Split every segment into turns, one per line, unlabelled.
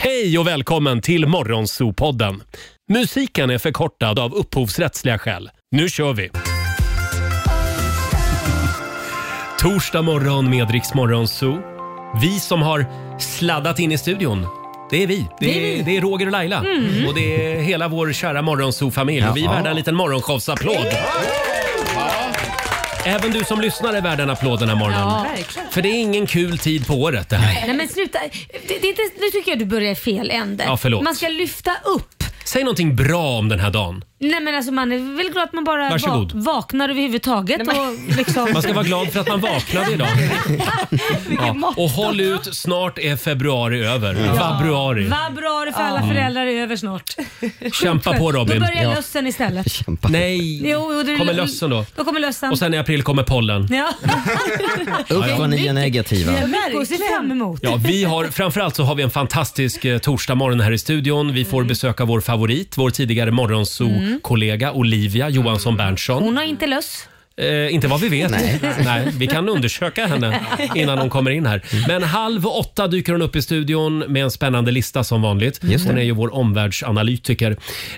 Hej och välkommen till Morgonzoo-podden. Musiken är förkortad av upphovsrättsliga skäl. Nu kör vi! Torsdag morgon med Rix Morgonzoo. Vi som har sladdat in i studion. Det är vi. Det är, det är, Roger och Laila. Och det är hela vår kära Morgonzoo-familj. Och Vi är
Jaha.
värda en liten morgonshowsapplåd. Även du som lyssnar är värd en applåd den här morgonen.
Ja, verkligen.
För det är ingen kul tid på året det här.
Nej men sluta. Det, det är inte, nu tycker jag du börjar i fel ände.
Ja, förlåt.
Man ska lyfta upp.
Säg någonting bra om den här dagen.
Nej men alltså man är väl glad att man bara
Varsågod.
va- vaknar överhuvudtaget och liksom...
Man ska vara glad för att man vaknade idag. Ja. Och håll ut, snart är februari över. Februari.
Vad bra det för alla föräldrar är över snart.
Kämpa på
Då
Robin.
börjar lössen istället.
Nej.
Jo, jo, det-
Kommer lössen då?
Då kommer lössen.
Och sen i april kommer pollen.
Ja,
Upp och ni är negativa.
mycket att se fram emot.
Ja, vi har, framförallt så har vi en fantastisk eh, torsdagmorgon här i studion. Vi
Mm.
får besöka vår favorit, vår tidigare morgonzoo-kollega Olivia Johansson Berntsson.
Hon har inte löss.
Eh, inte vad vi vet. Nej. vi kan undersöka henne innan hon kommer in här. Men halv åtta dyker hon upp i studion med en spännande lista som vanligt. Hon är ju vår omvärldsanalytiker.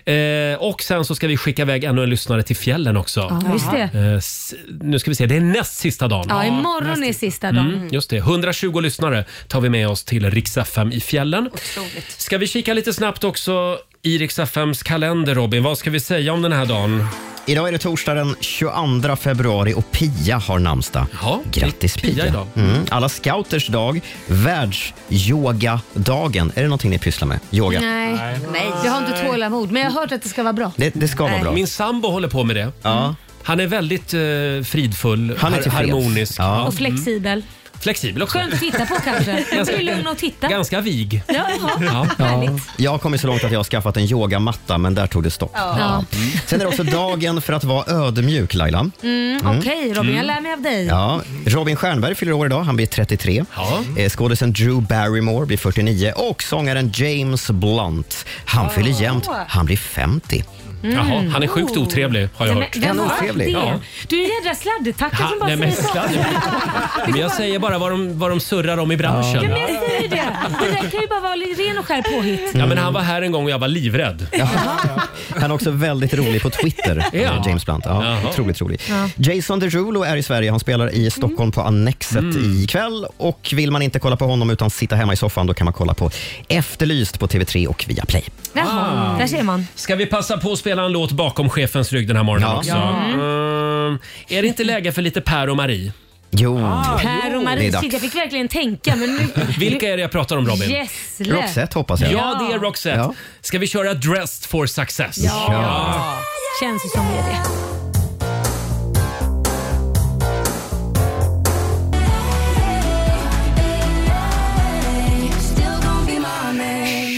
Eh, och sen så ska vi skicka iväg ännu en lyssnare till fjällen också.
Ja, visst det.
Eh, s- nu ska vi se, det är näst sista dagen.
Ja, imorgon är sista dagen.
Mm, Just det, 120 lyssnare tar vi med oss till Rix FM i fjällen. Ska vi kika lite snabbt också i Rix FMs kalender Robin? Vad ska vi säga om den här dagen?
Idag är det torsdag den 22 februari och Pia har namnsdag.
Jaha,
Grattis
det är
Pia.
Pia idag.
Mm. Alla scouters dag, världsyogadagen. Är det någonting ni pysslar med? Yoga?
Nej. Nej, jag har inte tålamod men jag har hört att det ska vara bra.
Det, det ska vara bra.
Min sambo håller på med det.
Ja.
Han är väldigt eh, fridfull,
Han är
har-
tillfreds.
harmonisk, Mm.
Ja.
Och flexibel.
flexibel också.
Skönt att titta på kanske. Jag blir lugn och titta. Mm. Ja,
Ganska vig.
jaha.
Ja.
Jag har kommit så långt att jag har skaffat en yogamatta, men där tog det stopp.
Ja.
Mm. Sen är det också dagen för att vara ödmjuk, Laila.
Mm. Okej Robin, jag lär mig av dig.
Ja, Robin Stjernberg fyller år idag. Han blir 33.
Ja.
Eh, Skådisen Drew Barrymore blir 49 och sångaren James Blunt. Han fyller jämnt. Han blir 50.
Mm. Jaha, han är sjukt otrevlig har jag
Mm. Oh. Nej,
hört.
men vem
Ja,
har sagt
otrevlig.
det?
Ja.
Du är en jädra sladdertacka
Ha,
som bara
nej, men,
säger så.
sladd. men jag säger bara vad de, vad de surrar om i branschen.
Men jag säger det. Det där kan ju bara vara ren och skär påhitt.
Ja, men han var här en gång och jag var livrädd.
Han är också väldigt rolig på Twitter,
Ja.
eh, James Blunt. Ja,
Jaha.
otroligt rolig. Jason Derulo är i Sverige. Han spelar i Stockholm på Annexet
Mm.
ikväll. Och vill man inte kolla på honom utan sitta hemma i soffan, då kan man kolla på Efterlyst på TV3 och Viaplay.
Ah.
Jaha, där ser man.
Ska vi passa på att spela en låt bakom chefens rygg den här morgonen
Ja.
också? Mm. Är det inte läge för lite Per och Marie?
Jo,
Ah,
Ah,
Per och
det är
Marie,
dags.
shit, jag fick verkligen tänka men nu...
Vilka är det jag pratar om Robin?
Gessle.
Roxette hoppas jag.
Ja, det är Roxette.
Ja.
Ska vi köra Dressed for success?
Känns ju som det är det.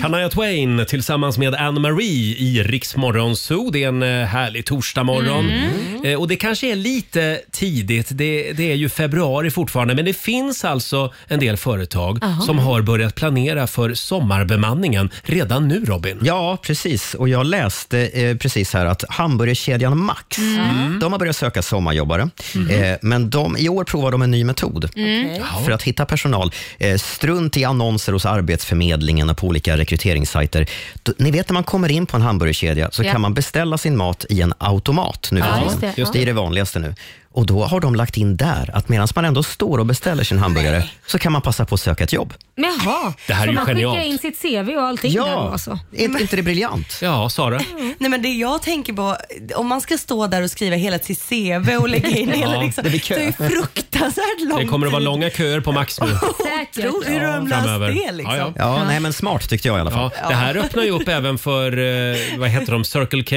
Shania Twain tillsammans med Anne Marie i Rix Morgon Zoo. Det är en eh, härlig torsdagmorgon.
Mm.
Eh, Och det kanske är lite tidigt, det, det är ju februari fortfarande, men det finns alltså en del företag som har börjat planera för sommarbemanningen redan nu Robin.
Ja, precis. Och jag läste eh, precis här att hamburgerkedjan Max,
Mm.
Mm. de har börjat söka sommarjobbare. Eh, men de, i år provar de en ny metod
Mm.
för att hitta personal. Eh, strunt i annonser hos Arbetsförmedlingen och på olika rekryteringssajter. D- ni vet när man kommer in på en hamburgerkedja så
Ja.
kan man beställa sin mat i en automat nu för
just
tiden.
det. Just
Det är det vanligaste nu. Och då har de lagt in där att medan man ändå står och beställer sin hamburgare så kan man passa på att söka ett jobb.
Men Jaha,
Det här är
så
ju
man
genialt.
skickar in sitt CV och allting där då alltså? Mm.
är inte- inte det briljant?
Ja, Sara?
Nej men det jag tänker på, om man ska stå där och skriva hela sitt CV och lägga in hela liksom,
det
det,
blir kö.
är ju fruktansvärt långt.
Det kommer att vara långa köer på Max nu.
Säkert. Mm.
Tror, hur har de
framöver.
löst det liksom?
Ja,
Ja, nej men smart tyckte jag i alla fall.
Ja, det här öppnar ju upp även för eh, vad heter de, Circle K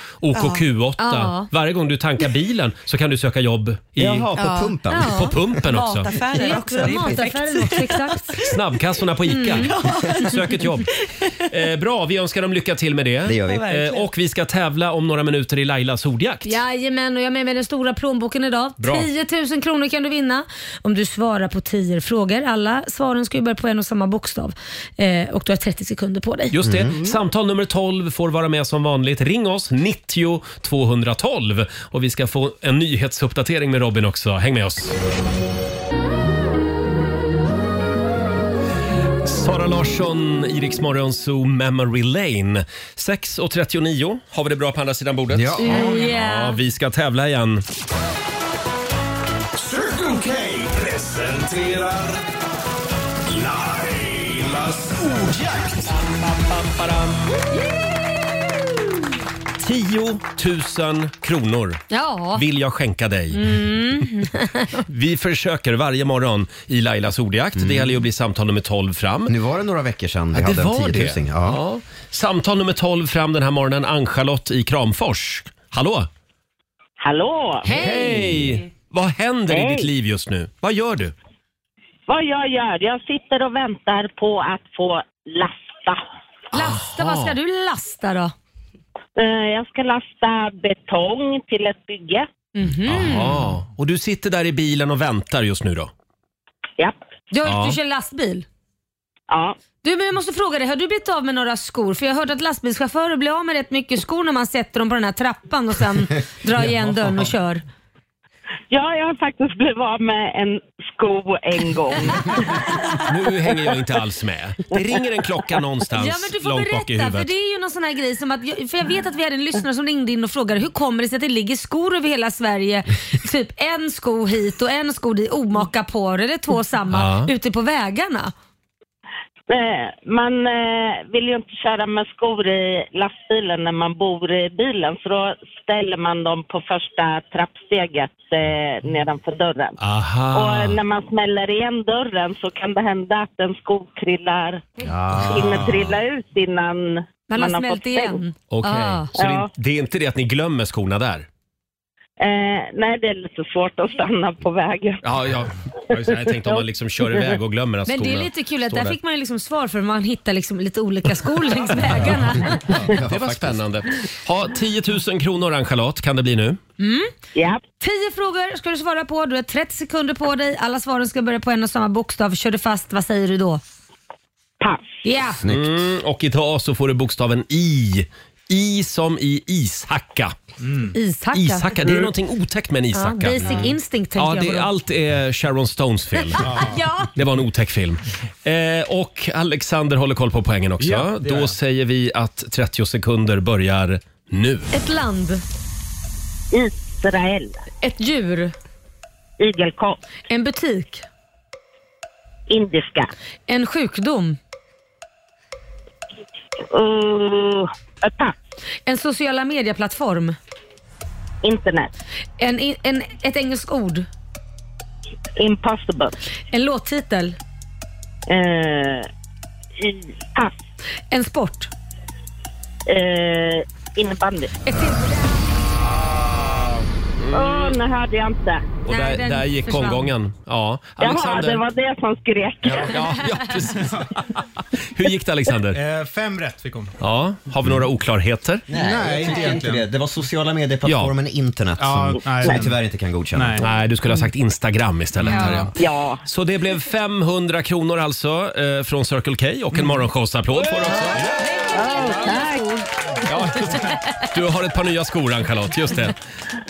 och OKQ8.
Ja.
Varje gång du tankar bilen så kan du söka jobb i,
Jaha, på pumpen.
Ja.
på pumpen också.
Mataffärer också, det är perfekt.
Mataffären också, exakt.
Snabbkassorna på ICA. Sök ett jobb. Eh, bra, vi önskar dem lycka till med det.
Det gör vi.
Ja, verkligen.
Eh, och vi ska tävla om några minuter i Lailas ordjakt.
Jajamän, och jag är med mig den stora plånboken idag.
Bra.
10 000 kronor kan du vinna om du svarar på 10 frågor. Alla svaren ska ju börja på en och samma bokstav. Eh, och du har 30 sekunder på dig.
Just det. Samtal nummer 12 får vara med som vanligt. Ring oss, 90 212. Och vi ska få en nyhetsuppdatering med Robin också. Häng med oss. Sara Larsson Larsson, Iriks Zoo Memory Lane. 6.39 har vi det bra på andra sidan bordet.
Ja.
Yeah.
Ja, vi ska tävla igen.
Circle K presenterar Lailas ordjakt.
10 000 kronor
Ja.
vill jag skänka dig.
Mm.
vi försöker varje morgon i Lailas ordjakt. Det gäller ju att bli samtal nummer 12 fram.
Mm. Nu var det några veckor sedan vi
Ja,
hade
det var
en 10
det.
000. Ja.
Ja. Samtal nummer 12 fram den här morgonen. Ann-Charlotte i Kramfors. Hallå!
Hallå!
Hej! Vad händer i
Hej.
ditt liv just nu? Vad gör du?
Vad jag gör? Jag sitter och väntar på att få lasta.
Lasta, vad ska du lasta då?
Eh, Jag ska lasta betong till ett bygge.
Mm.
Mhm.
Jaha. Och du sitter där i bilen och väntar just nu då?
Japp.
Du, har-
Ja.
du kör lastbil?
Ja.
Du, men jag måste fråga dig, har du blivit av med några skor? För jag hörde att lastbilschaufförer blir av med rätt mycket skor när man sätter dem på den här trappan och sen drar igen dörren och kör.
ja, jag har faktiskt blivit av med en sko en gång.
Nu hänger jag inte alls med. Det ringer en klocka någonstans
Ja, men du får
långt bak i
berätta, för
huvudet.
det är ju någon sån här grej som att, jag- för jag vet att vi hade en lyssnare som ringde in och frågade hur kommer det sig att det ligger skor över hela Sverige? typ en sko hit och en sko dit, omaka på det, eller två samma,
Ja.
ute på vägarna.
Eh, Man eh, vill ju inte köra med skor i lastbilen när man bor i bilen så då ställer man dem på första trappsteget eh, nedanför dörren.
Aha.
Och när man smäller igen dörren så kan det hända att en sko trillar,
Ah.
hinner trilla ut innan man,
Man har
har
smält
fått stängt.
igen.
Okej,
Ah.
så det,
Ja.
det är inte det att ni glömmer skorna där?
Eh, nej, det är lite svårt att stanna på vägen.
Ja, ja. Ja, just det. Jag tänkte om man liksom kör iväg och glömmer att
Men
skorna
det är lite kul att
står
där fick man ju liksom svar för man hittar liksom lite olika skor längs vägarna.
Det var spännande. Ha, 10 000 kronor, Ann-Charlotte, kan det bli nu.
Ja.
Mm. Tio frågor ska du svara på. Du har 30 sekunder på dig. Alla svaren ska börja på en och samma bokstav. Kör du fast, vad säger du då?
Pass.
Ja,
Mm, och idag så får du bokstaven I. I som i ishacka.
ishacka. Mm.
Ishacka, det är någonting otäckt med en
Ja,
ishacka. Mm.
basic instinct tänker
Ja,
jag
det,
på. då.
allt är Sharon Stones fel.
Ja.
Det var en otäck film. Eh, och Alexander håller koll på poängen också.
Ja, det gör
Då
jag.
säger vi att 30 sekunder börjar nu.
Ett land,
Israel.
ett djur,
Igelkott.
en butik,
Indiska.
en sjukdom,
Uh, pass.
en sociala medieplattform,
Internet.
en, en, ett engelskt ord,
Impossible.
en låttitel,
Eh, i, pass.
en sport.
Eh, innebandy.
Ett till.
Åh, nu hörde jag inte.
Och
Nej,
där,
den
där gick
försvann.
omgången. Ja,
Jaha,
Alexander.
det var det som skrek.
ja, ja, precis. Hur gick det Alexander?
Eh, fem rätt fick hon.
Ja, har vi några oklarheter?
Nej,
Nej,
jag
inte
tycker inte
egentligen.
det. Det var sociala medieplattformen internet
Ja,
som,
nej,
som vi
den-
tyvärr inte kan godkänna.
Nej.
Nej, du skulle ha sagt Instagram istället. Här, ja.
Ja.
Så det blev 500 kronor alltså eh, från Circle K och en morgonshowsapplåd får du också. Ja, just det. du har ett par nya skor Ann-Charlotte, just det.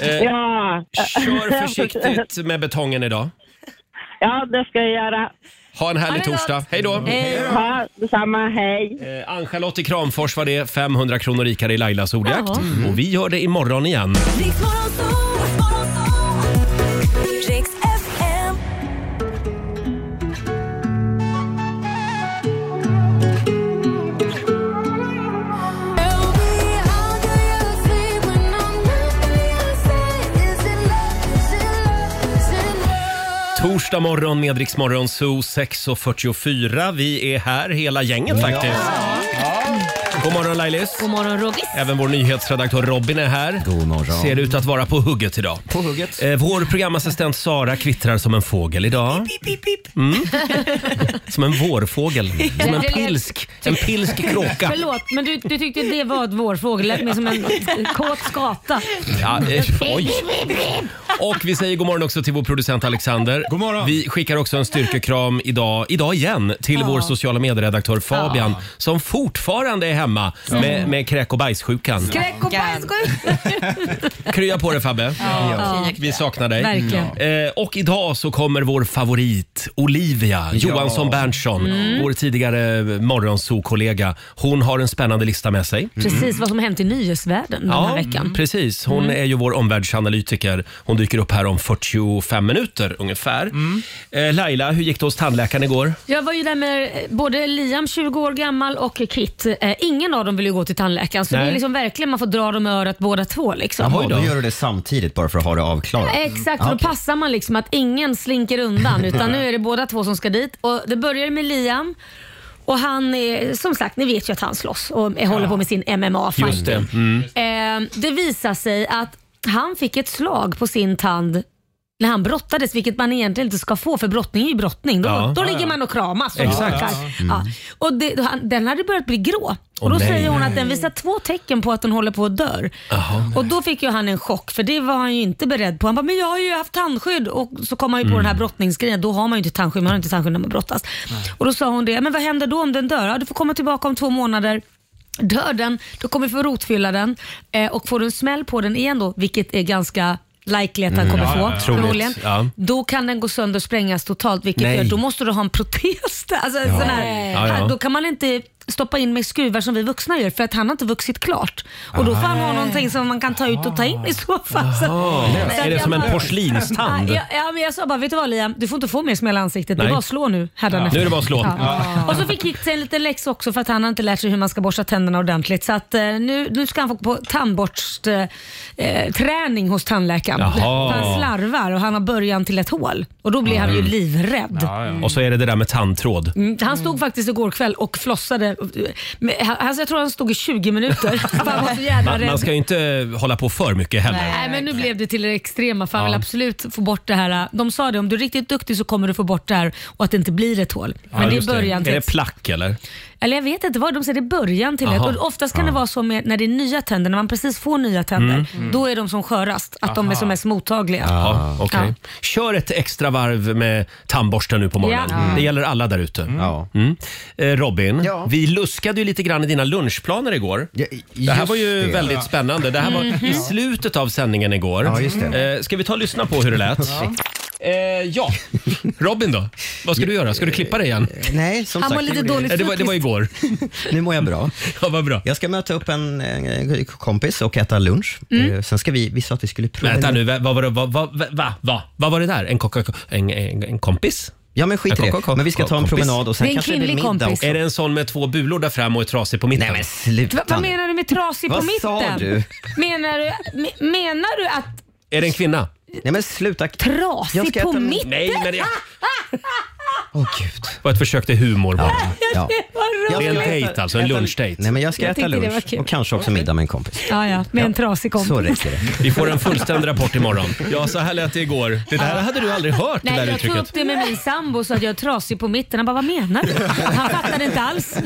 Eh,
Ja.
kör försiktigt med betongen idag.
ja, det ska jag göra.
Ha en härlig
Ha det gott.
torsdag. Hej då!
Eh,
Ja, detsamma. Hej.
Eh, Ann-Charlotte i Kramfors var det, 500 kronor rikare i Lailas ordjakt. Och vi gör det imorgon igen.
Riks FM.
Torsdag morgon med Rix Morgon Zoo 6.44. Vi är här hela gänget faktiskt. God morgon Lailis!
God morgon Rogis.
Även vår nyhetsredaktör Robin är här.
God morgon.
Ser ut att vara på hugget idag.
På hugget.
Eh, Vår programassistent Sara kvittrar som en fågel idag. Mm. Som en vårfågel. Som en
det lät-
pilsk, en pilsk kråka.
Förlåt, men du, du tyckte det var ett vårfågel. Lät mer som en kåt skata.
Ja, eh, oj. Och vi säger god morgon också till vår producent Alexander.
God morgon.
Vi skickar också en styrkekram idag, idag igen till vår sociala medieredaktör Fabian som fortfarande är hemma hemma med, med kräk och bajssjukan.
Kräk och bajssjuka.
Krya på dig Fabbe.
Ja.
Vi saknar dig.
Verkligen.
Eh, och idag så kommer vår favorit Olivia Johansson Berntsson, vår tidigare morgonsokollega. Hon har en spännande lista med sig.
Precis vad som hänt i nyhetsvärlden den här veckan. Mm.
precis. Hon är ju vår omvärldsanalytiker. Hon dyker upp här om 45 minuter ungefär. Eh, Laila, hur gick det hos tandläkaren igår?
Jag var ju där med eh, både Liam, 20 år gammal, och Kit. Eh, ingen av dem vill ju gå till tandläkaren, så
Nej.
det är liksom verkligen man får dra dem i örat båda två. Liksom.
Jaha. Oj
Jaha,
då.
då gör du det samtidigt bara för att ha det avklarat.
Exakt, och
Mm,
då passar man liksom att ingen slinker undan utan nu är det båda två som ska dit. Och det börjar med Liam och han är, som sagt, ni vet ju att han slåss och håller på med sin mma
Just det. Mm.
Eh, det visar sig att han fick ett slag på sin tand när han brottades, vilket man egentligen inte ska få för brottning är ju brottning. Då,
Ja.
då ligger man och kramas. Och
Exakt. Mm.
bråkar. Ja. Och det, då han, den hade börjat bli grå. Och
Åh,
då
nej.
säger hon att den visar två tecken på att den håller på att dör.
Jaha.
Och då fick ju han en chock för det var han ju inte beredd på. Han bara, men jag har ju haft tandskydd och så kom han
Mm.
ju på den här brottningsgrejen. Då har man ju inte tandskydd, man har inte tandskydd när man brottas. Och då sa hon det, men vad händer då om den dör? Ja, du får komma tillbaka om två månader. Dör den, då kommer vi få rotfylla den eh, och får du en smäll på den igen då, vilket är ganska likely att han kommer
Mm. ja,
få
ja.
förmodligen.
Troligt, ja.
Då kan den gå sönder och sprängas totalt vilket
Nej.
gör, då måste du ha en protes. där. Alltså, en sån här,
Ja, ja.
Då kan man inte stoppa in med skruvar som vi vuxna gör för att han har inte vuxit klart. Och då får han
Ah.
ha någonting som man kan ta ut och ta in i så fall. Så- Så
Är det
jag
som en
bara-
porslinstand?
Ja, ja, men jag sa bara, vet du vad Liam? Du får inte få mer smäll i ansiktet. Det
Nej.
är bara att slå nu hädanefter.
Nu är det bara att slå.
Och så fick Kit sig en liten läxa också för att han har inte lärt sig hur man ska borsta tänderna ordentligt. Så att eh, nu, nu ska han få på tandborst eh, eh, träning hos tandläkaren.
Jaha. Mm.
För han slarvar och han har början till ett hål. Och då blir han ju livrädd.
Och så är det det där med tandtråd.
Mm, Han stod faktiskt igår kväll och flossade. Men han- Alltså jag tror han stod i 20 minuter. För han var så jävla
Man, man
rädd.
ska ju inte hålla på för mycket heller.
Nej, men nu blev det till det extrema för han vill absolut få bort det här. De sa det, om du är riktigt duktig så kommer du få bort det här och att det inte blir ett hål. Men
Ja,
det är
just
början
Är
till
det plack eller?
Eller jag vet inte vad de säger, det är början till
Aha.
det. Och oftast kan det vara så med, när det är nya tänder, när man precis får nya tänder, då är de som skörast. Att de är som mest mottagliga.
Ja, okej.
Ja.
Kör ett extra varv med tandborsten nu på morgonen.
Ja. Mm.
Det gäller alla där ute.
Ja.
Mm. Eh, Robin,
Ja.
vi luskade ju lite grann i dina lunchplaner igår.
Ja,
Det här
just
var ju
det.
väldigt spännande. Det här var i slutet av sändningen igår.
Ja, just det.
Eh, Ska vi ta och lyssna på hur det lät? Eh, ja, Robin då? Vad ska du göra? Ska du klippa dig igen?
Nej, som
Han
sagt.
var lite
jag gjorde
Eh,
dålig
Det var, det var igår.
Nu mår jag bra.
Ja, vad bra.
Jag ska möta upp en eh, kompis och äta lunch.
Mm.
Eh, Sen ska vi, vi sa att vi skulle prova.
Vänta nu, va- vad var det, va, va, va, va, va, vad var det där? En, kock, en, en, en kompis?
Ja, men skit i
Kom, kom,
det.
kom,
Men vi ska
kom,
ta en
kompis.
promenad och
Det är
sen
en
kanske det blir
kvinnlig
middag
kompis.
också.
Är det en sån med två bulor där fram och är trasig på mitten?
Nej men sluta
Va, vad
nu.
menar du med trasig på
Vad
mitten?
sa du?
Menar du, me- menar du att
Är det en kvinna?
Nej men sluta. Jag
trasig
ska
på
äta min-
mitten?
Nej, men jag...
Åh gud.
Det var ett försök till humor bara.
Ja.
Vad roligt.
Det är en
Jag ska
dejt alltså, en lunchdejt.
Nej men jag ska
Jag
äta
tyckte det var
lunch
kul.
och kanske också middag med en kompis.
Ja, ja, med en trasig kompis.
Så räcker det.
Vi får en fullständig rapport imorgon. Ja, så här lät det igår. Det där hade du aldrig hört, det
Nej,
där
jag tog
uttrycket.
upp det med min sambo så att jag är trasig på mitten. Han bara, vad menar du? Han fattade inte alls.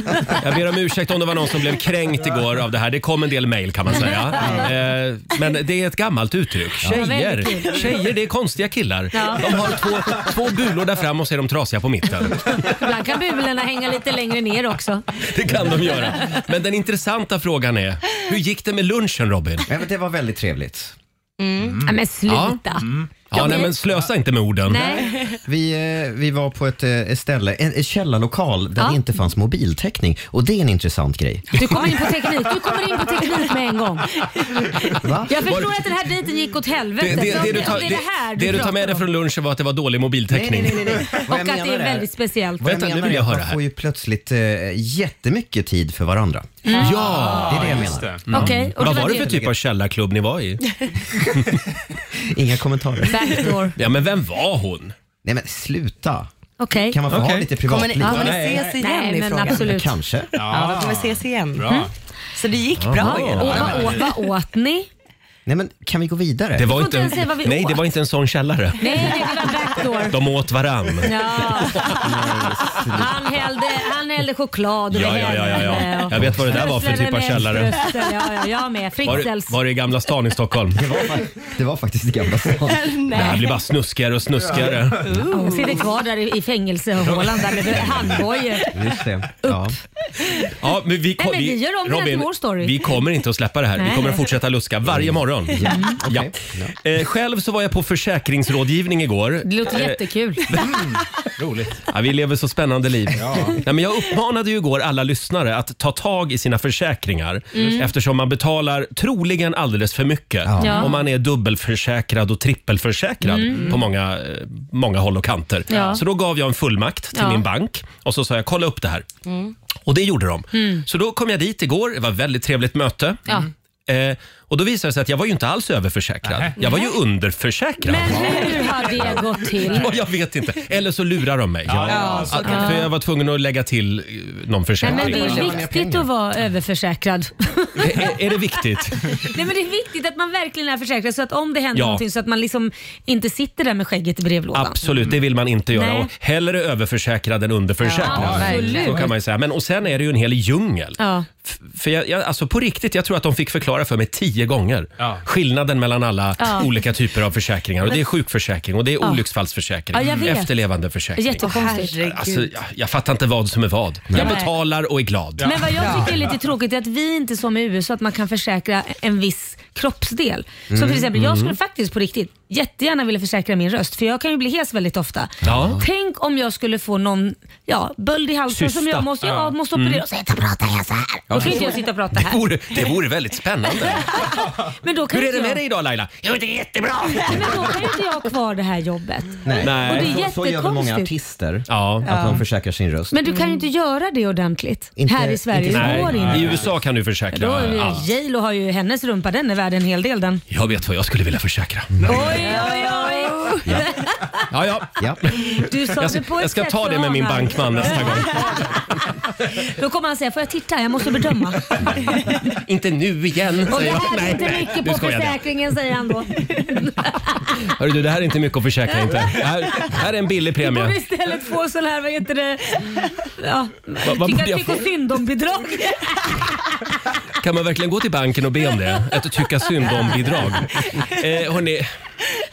Jag ber om ursäkt om det var någon som blev kränkt igår av det här. Det kom en del mejl kan man säga. Eh, Men det är ett gammalt uttryck.
väldigt
Tjejer,
kul.
tjejer det är konstiga killar.
Ja.
De har två, två bulor där fram och så är de trasiga på mitten.
Ibland kan bulorna hänga lite längre ner också.
Det kan de göra. Men den intressanta frågan är, hur gick det med lunchen Robin?
Nej, men det var väldigt trevligt.
Nej, men sluta.
Mm. Ja, nej, men slösa inte med orden.
Nej.
Vi, eh, vi var på ett eh, ställe, en, en källarlokal där
Ja.
det inte fanns mobiltäckning och det är en intressant grej.
Du kommer in på teknik. Du kommer in på teknik med en gång.
Va?
Jag förstår att den här dejten gick åt helvete.
Det, det, det, du tar,
det är det här
det, det du tar
pratar
med dig
om.
från lunchen var att det var dålig
Nej,
mobiltäckning.
nej, nej, nej.
Och
Vad
att
jag
det
menar
är väldigt speciellt.
Vad jag
Vänta, nu
menar
vill
är
jag
att
höra
man
här.
får ju plötsligt eh, jättemycket tid för varandra.
Ja!
Det är det jag
Just
menar.
det.
Mm.
Mm.
Okej, och
Vad var det för
det.
typ av källarklubb ni var i?
Inga kommentarer.
Backdoor.
Ja, men vem var hon?
Nej men sluta.
Okej.
Kan man få
Okej.
ha lite
Kommer ni,
privatliv?
kommer ni
Nej.
ses igen
Nej,
i
men
frågan?
absolut.
Kanske.
Mm.
Ja, de kommer ses igen.
Bra.
Så det gick bra.
Och vad åt, vad åt ni?
Nej, men kan vi gå vidare?
Det var
inte ens säga
inte,
vad vi
nej, det
åt.
var inte en sån källare.
Nej, det var backdoor.
De åt varann.
Ja. Han, hällde, han hällde choklad
Ja,
över
ja, ja, ja, ja.
henne och
Jag vet vad det där var för
strösslade
typ av
med
källare.
strössel. Ja, ja, jag med.
Var det,
Fritzels.
var det i Gamla stan i Stockholm?
Det var, fa- det var faktiskt i Gamla stan.
Det här blir bara snuskigare och snuskigare.
Hon sitter kvar där i, i fängelsehålan där med handbojor.
Just det. Ja.
Ja, men vi, kom,
Nej, men vi gör om det här till vår story.
vi kommer inte att släppa det här. Vi
Nej.
kommer att fortsätta luska varje morgon.
Ja.
Ja.
okej. Ja.
Eh, själv så var jag på försäkringsrådgivning igår. Eh,
Det låter jättekul.
Mm. Roligt. Ja, vi lever så spännande liv. Nej, men jag uppmanade ju igår alla lyssnare att ta tag i sina försäkringar
Mm.
eftersom man betalar troligen alldeles för mycket
Ja. Mm.
om man är dubbelförsäkrad och trippelförsäkrad på många, eh, många håll och kanter.
Ja.
Så då gav jag en fullmakt till
Ja.
min bank och så sa jag kolla upp det här. Och det gjorde de. Så då kom jag dit igår. Det var ett väldigt trevligt möte.
Mm. Ja.
Eh, och då visade det sig att jag var ju inte alls överförsäkrad. Jag var ju underförsäkrad.
Men hur har det gått till?
Ja, jag vet inte. Eller så lurar de mig. Att- För jag var tvungen att lägga till eh, någon
Nej,
försäkring.
men det är viktigt att vara överförsäkrad.
är, är det viktigt?
Nej, men det är viktigt att man verkligen är försäkrad så att om det händer
Ja.
någonting så att man liksom inte sitter där med skägget i brevlådan.
Absolut, det vill man inte göra.
Nej.
Och hellre överförsäkrad än underförsäkrad.
Absolut.
Så kan man ju säga. Men, och sen är det ju en hel djungel.
Ja.
F- För jag, jag, alltså på riktigt, jag tror att de fick förklara för mig tio gånger
Ja.
skillnaden mellan alla
Ja.
olika typer av försäkringar. Och det är sjukförsäkring, och det är olycksfallsförsäkring,
Ja, jag vet.
efterlevandeförsäkring.
Jättekonstigt.
Alltså, jag, jag fattar inte vad som är vad. Jag betalar och är glad.
Men vad jag tycker är lite tråkigt är att vi inte är som i USA att man kan försäkra en viss kroppsdel. Som
Mm.
till exempel, jag skulle faktiskt på riktigt jättegärna vilja försäkra min röst för jag kan ju bli hes väldigt ofta.
Ja.
Tänk om jag skulle få någon ja, böld i halsen
Cysta.
som jag måste, jag måste operera och så sitta och prata jag så här. Då kan inte jag sitta och prata
Mm. Det
här.
vore, det vore väldigt spännande.
Men då kan
Hur är
inte
det med
jag-
dig idag Laila? Jo, det är jättebra!
Nej, men då kan ju inte jag ha kvar det här jobbet.
Nej.
Nej. Och det är
så, så gör väl många
jättekonstigt.
artister?
Ja.
Att de försäkrar sin röst.
Men du kan ju inte göra det ordentligt
Inte-
här i Sverige.
inte-
det går
Nej, i
inte.
USA kan du försäkra
Då,
allt.
J.Lo har ju hennes rumpa, den är värd en hel del den.
Jag vet vad jag skulle vilja försäkra.
Oj, oj, oj.
Ja, ja.
Ja.
Du sa
Jag,
det
ska-
på ett
jag ska
sätt
ta
så
det med min
anar.
bankman nästa gång.
Då kommer han säga, får jag titta? Jag måste bedöma.
Inte nu igen,
Och det
säger jag.
här är inte mycket
nu
på
skojar jag.
försäkringen säger han då.
Hörru du, det här är inte mycket att försäkra inte. Det här, det här är en billig
Du borde
premie.
istället få sån här, vad heter det, ja,
vad borde
tycka
jag
tycka
få?
synd om bidrag.
Kan man verkligen gå till banken och be om det? Ett tycka synd om-bidrag. Eh, hörni,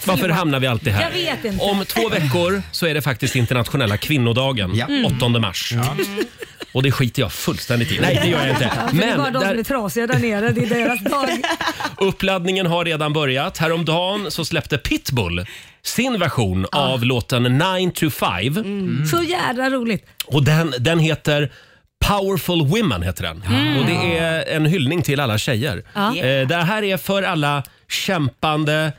varför hamnar vi alltid här?
Jag vet inte.
Om två veckor så är det faktiskt internationella kvinnodagen,
Ja.
Mm.
8 mars. Och det skiter jag fullständigt i. Nej, det gör jag inte.
Men, det är bara
Men
de som är
där,
trasiga där nere, det är deras dag.
uppladdningen har redan börjat. Häromdagen så släppte Pitbull sin version av låten 9 to 5.
Mm. Så jädra roligt.
Och den, den heter Powerful Women heter den. Och det är en hyllning till alla tjejer.
Ja.
Eh, det här är för alla kämpande,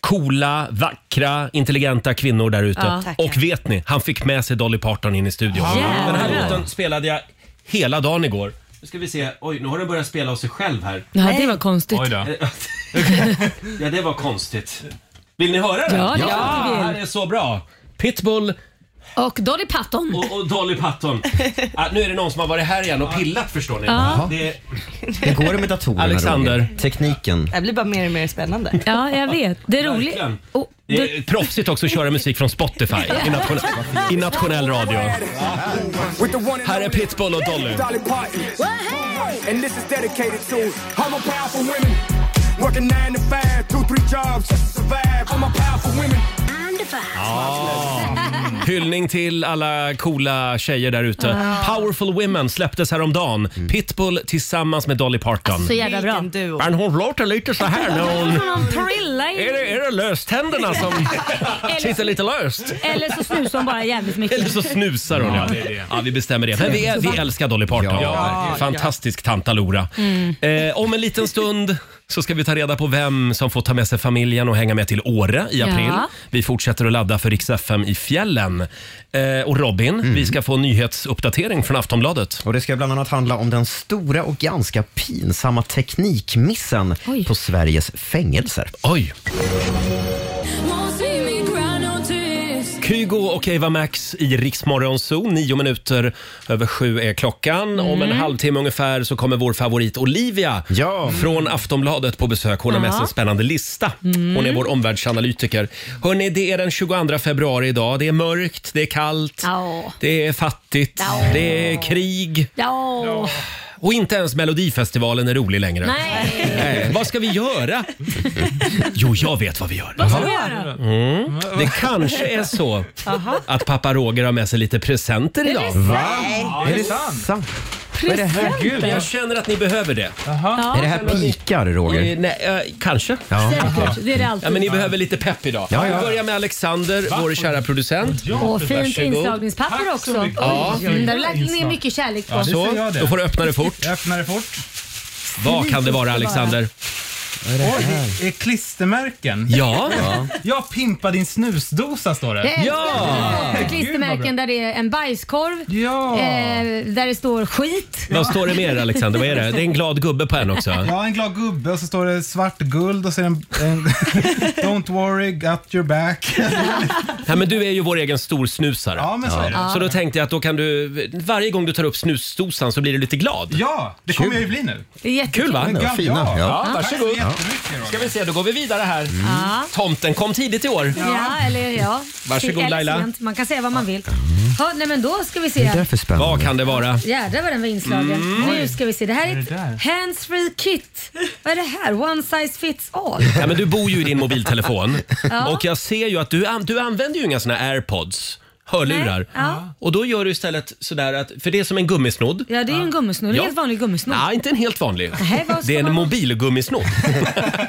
coola, vackra, intelligenta kvinnor där ute.
Ja.
Och vet ni, han fick med sig Dolly Parton in i studion.
Jävlar.
Den här låten spelade jag hela dagen igår. Nu ska vi se. Oj, nu har den börjat spela av sig själv här.
Ja, det var konstigt.
Oj då.
ja, det var konstigt. Vill ni höra den?
Ja, det är klart vi
ja
vill.
det här är så bra. Pitbull
Och Dolly Parton.
och, och Dolly Parton. Ah, nu är det någon som har varit här igen och pillat förstår ni.
Ja.
Det är
Det går det med datorerna
Alexander.
Roger? Tekniken.
Det här blir bara mer och mer spännande.
Ja, jag vet. Det är roligt.
Verkligen.
Och,
det
du,
är proffsigt också att köra musik från Spotify i nationell, i nationell radio. Här är Pitbull och Dolly.
Dolly Parton. And this is dedicated to all my powerful women. Working nine to five, two, three jobs just to survive. All my powerful women.
Hyllning till alla coola tjejer där ute. Powerful Women släpptes häromdagen. Pitbull tillsammans med Dolly Parton.
så jävla bra.
Vilken duo.
Men hon låter lite så här när hon...
Någon prilla
Är
in.
det, är det löständerna som sitter lite löst?
Eller så snusar hon bara jävligt mycket.
Eller så snusar hon. Ja, ja vi bestämmer det. Men vi, är, vi älskar Dolly Parton.
Ja,
Fantastisk tantalora. Eh, om en liten stund så ska vi ta reda på vem som får ta med sig familjen och hänga med till Åre i april.
Ja.
Vi fortsätter att ladda för Rix FM i fjällen. Eh, och Robin, vi ska få nyhetsuppdatering från Aftonbladet.
Och det ska bland annat handla om den stora och ganska pinsamma teknikmissen
Oj.
på Sveriges fängelser.
Oj!
Won't see me cry no tears.
Kygo Kygo och Eva Max i Riksmorgon Zoo. Nio minuter över sju är klockan. Om
Mm.
en halvtimme ungefär så kommer vår favorit Olivia
Ja.
från Aftonbladet på besök. Hon har med sig en spännande lista.
Mm.
Hon är vår omvärldsanalytiker. Hörni, det är den 22 februari idag. Det är mörkt, det är kallt,
Ja.
det är fattigt, det är krig
Ja.
och inte ens Melodifestivalen är rolig längre.
Nej.
Nej, vad ska vi göra? Jo, jag vet vad vi gör. Mm. Det kanske är så att pappa Roger har med sig lite presenter idag.
Va?
Ja, det är sant.
Sant. Vad är det här?
Gud, jag känner att ni behöver det.
Är det här pikar, Roger?
Eh, Nej, eh, kanske.
Ja.
Säkert, det är det alltid.
Ja, men ni behöver lite pepp idag.
Ja, ja.
Vi börjar med Alexander, vår kära producent.
och fint
varsågod.
inslagningspapper
Tack så
också.
mycket.
Ja.
Ja.
Där har du lagt ner mycket kärlek på.
Ja, det- ser
Så,
jag
då får du öppna det fort.
Jag öppnar det fort.
Vad kan det vara Alexander?
Oj, det är klistermärken.
Ja,
Jag pimpar din snusdosa står
Jag
det.
älskar
Ja.
det. Klistermärken där det är en bajskorv,
Ja.
eh, där det står skit.
vad står det mer Alexander? Vad är det? Det är en glad gubbe på en också.
Ja, en glad gubbe och så står det svart guld och så är det en, en Don't worry, got your back.
Nej, men du är ju vår egen storsnusare.
Ja, men så är det.
Så då tänkte jag att då kan du, varje gång du tar upp snusdosan så blir du lite glad.
Ja, det kommer jag ju bli nu.
Det är jättekul.
Kul va?
Men
Ja,
gam-
fina. Ja.
Tack så jättemycket Roger.
Ska vi se, då går vi vidare här.
Mm.
Tomten kom tidigt i år.
Ja, eller ja.
Varsågod,
Eller
Laila.
sent. Man kan säga vad man vill. Ja, nej men då ska vi
Det där är
se.
för
Vad
spännande.
kan det vara?
Jädrar vad den var inslagen.
Mm.
Nu ska vi se. Det här är
det där?
ett handsfree kit. Vad är det här? One size fits all.
Ja, men du bor ju i din mobiltelefon och jag ser ju att du, an- du använder ju inga såna här airpods, hörlurar. Ah.
Nej, ja.
Och då gör du istället sådär att, för det är som en gummisnodd.
Ja, det är ju en gummisnodd. En
Ah. Ja.
Helt vanlig gummisnodd.
Nej, inte en helt vanlig.
Nej, vad ska
Det är en
man-
mobilgummisnodd.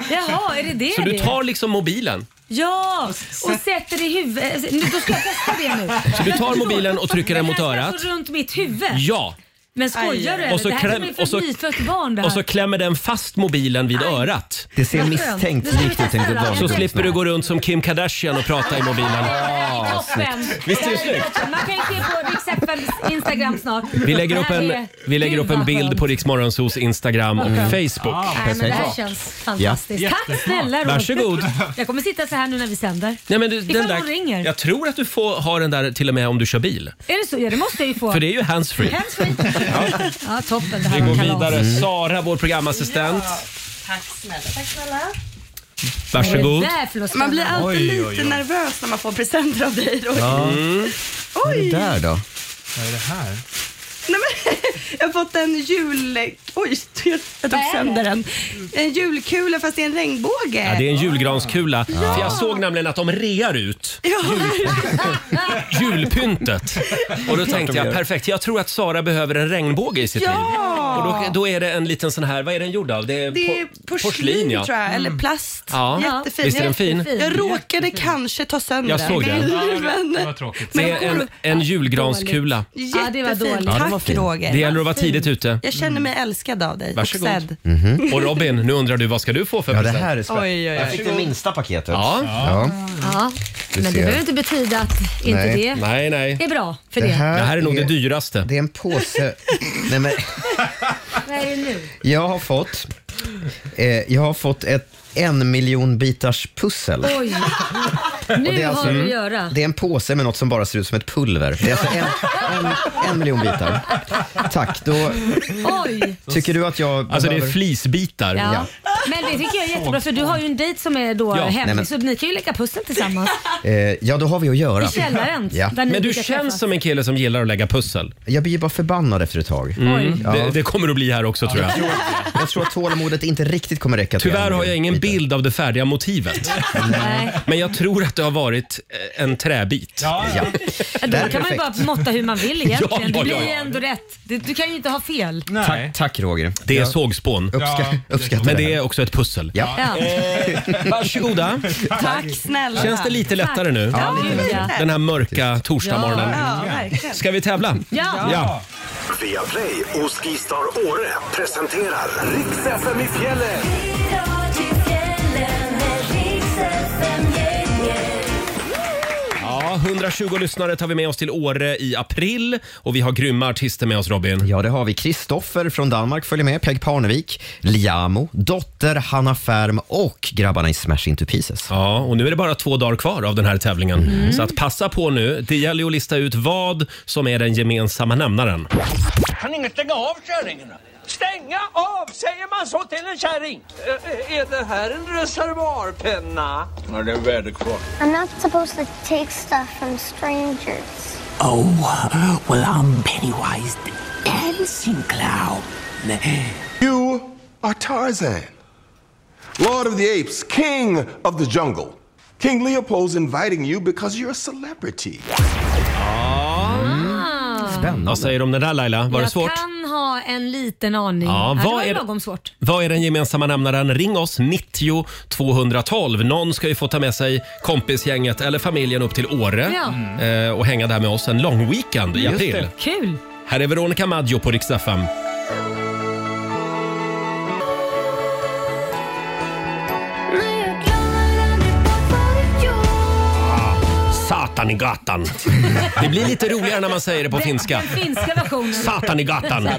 Jaha, är det det
Så
det
du
är?
tar liksom mobilen.
Ja, och sätter det i huvudet. Alltså, Nu, Då ska jag testa det nu.
Så du tar mobilen och trycker den mot
Den här
örat.
ska alltså runt mitt huvud.
Ja,
Men skojar du eller?
Och så
Det här
kläm-
är väl för
och så-
ett nyfött barn det här.
och så klämmer den fast mobilen vid örat.
Det ser misstänkt likt ut en global
Så slipper du gå runt som Kim Kardashian och prata i mobilen.
Ja, toppen.
Visst är det snyggt?
Man kan ju se på Rix FMs Instagram snart.
Vi lägger upp
Det här
en,
är-
vi lägger
Gud,
upp en
vad
bild
skönt.
på Riksmorgonsos Instagram och Mm. Facebook.
Ah.
Nej, Mm. Ah, men det här känns fantastiskt. Tack snälla Roger.
Varsågod.
Jag kommer sitta så här nu när vi sänder.
Nej, men du,
Ifall
den där,
någon ringer.
Jag tror att du får ha den där till och med om du kör bil.
Är det så? Ja, det måste jag ju få.
För det är ju handsfree.
Hemskt fint. Ja, toppen. Det här
Vi
var
går
kalas.
vidare.
Mm.
Sara, vår programassistent.
Tack snälla. Tack snälla.
Varsågod.
Det där för något
Man blir
spännande?
alltid
Oj,
lite
oj, oj.
nervös när man får presenter av dig Roger.
Mm. Oj! Där då?
Vad är det här?
Nej, men, jag har fått en jul... Oj, jag tog sönder den. En julkula fast det är en regnbåge.
Ja, det är en julgranskula. För jag såg nämligen att de rear ut julpyntet. Och då tänkte jag perfekt, jag tror att Sara behöver en regnbåge i sitt liv. Och
Ja,
då, då är det en liten sån här, vad är den gjord av? Det är,
det är
por- Mm.
porslin, tror jag,
Mm.
eller plast.
Ja.
Jättefin.
Visst är den fin?
Jättefin.
Jag råkade kanske ta sönder
Jag såg den.
Men,
Det var tråkigt.
Det är en, en julgranskula.
Ja, det var
jättefin.
dåligt.
Ja, den var
Tack
fin.
Roger. Mm.
Det gäller att vara tidigt ute. Mm.
Jag känner mig älskad av dig
Varsågod.
och sedd.
Och Robin, nu undrar du vad ska du få för
Mhm. Ja, det
present?
här är spännande.
Oj, oj, oj.
Jag fick det minsta paketet.
Ja,
Ja.
Ja, men det
Mm. ser.
behöver inte betyda att inte
Nej.
det
nej nej.
är bra för
Det
det.
här,
Det här är nog det dyraste.
Det är en påse. Nej, men,
Vad är det nu?
jag har fått, eh, jag har fått ett en miljon bitars pussel.
Oj. Nu
det är alltså-
har du att göra.
Det är en påse med något som bara ser ut som ett pulver. Det är alltså en, en, en miljon bitar. Tack, då
Oj.
tycker du att jag
Alltså det är
behöver...
flisbitar.
Ja. Men det tycker jag är jättebra för du har ju en dejt som är då
Ja,
hemlig
nej, men-
så ni kan ju lägga pussel tillsammans
eh, ja, då har vi att göra.
i källaren.
Ja.
där ni
Men du
brukar
känns
träffas.
som en kille som gillar att lägga pussel. Mm.
Jag blir ju bara förbannad efter ett tag.
Oj.
Ja.
Det, det kommer att bli här också tror jag.
Jag tror att tålamodet inte riktigt kommer räcka till
Tyvärr
en
har jag ingen
bitar.
bild av det färdiga motivet.
Nej.
Men jag tror att det har varit eh, en träbit.
Ja,
Ja. Där
Då
är
kan man ju bara
perfekt.
måtta hur man vill egentligen.
Ja, ja,
det blir ju
ja, ja.
ändå rätt. Du, du kan ju inte ha fel.
nej.
Tack Roger.
Det är
Jag
sågspån.
Uppska-
Ja,
uppskattar
Men
det
det
här.
är också ett pussel.
Ja.
Ja.
Eh, Varsågoda.
Tack snälla.
Känns det lite lättare nu?
Ja, gud, ja.
Den här mörka torsdagmorgonen.
Ja, verkligen.
Ska vi tävla?
Ja.
Ja.
Via Play och Skistar Åre presenterar Riks-FM i fjällen.
Ja, 120 lyssnare tar vi med oss till Åre i april och vi har grymma artister med oss Robin.
Ja, det har vi. Kristoffer från Danmark följer med, Peg Parnevik, Liamo, Dotter, Hanna Färm och grabbarna i Smash Into Pieces.
Ja, och nu är det bara två dagar kvar av den här tävlingen. Så att passa på nu. Det gäller ju att lista ut vad som är den gemensamma nämnaren.
Kan ingen stänga av kärringarna? Stänga av, säger man så till en kärring? är det här en reservoarpenna? Ja, det är väder kvar.
I'm not supposed to take stuff from strangers.
Oh, well I'm Pennywise the dancing clown.
You are Tarzan, Lord of the Apes, King of the Jungle. King Leopold's inviting you because you're a celebrity.
Spännande.
Vad säger du om det där Laila? Var det
Ah. jag
svårt?
kan ha en liten aning.
Ja,
det
vad
var
är
ju
det-
lagom svårt.
Vad är den gemensamma nämnaren? Ring oss 90 212. Någon ska ju få ta med sig kompisgänget eller familjen upp till Åre
Ja.
eh, och hänga där med oss en lång weekend i
Just
april.
det.
Kul!
Här är Veronica Maggio på riksdag Satan i gatan. Det blir lite roligare när man säger det på finska.
Den finska versionen.
Satan i gatan.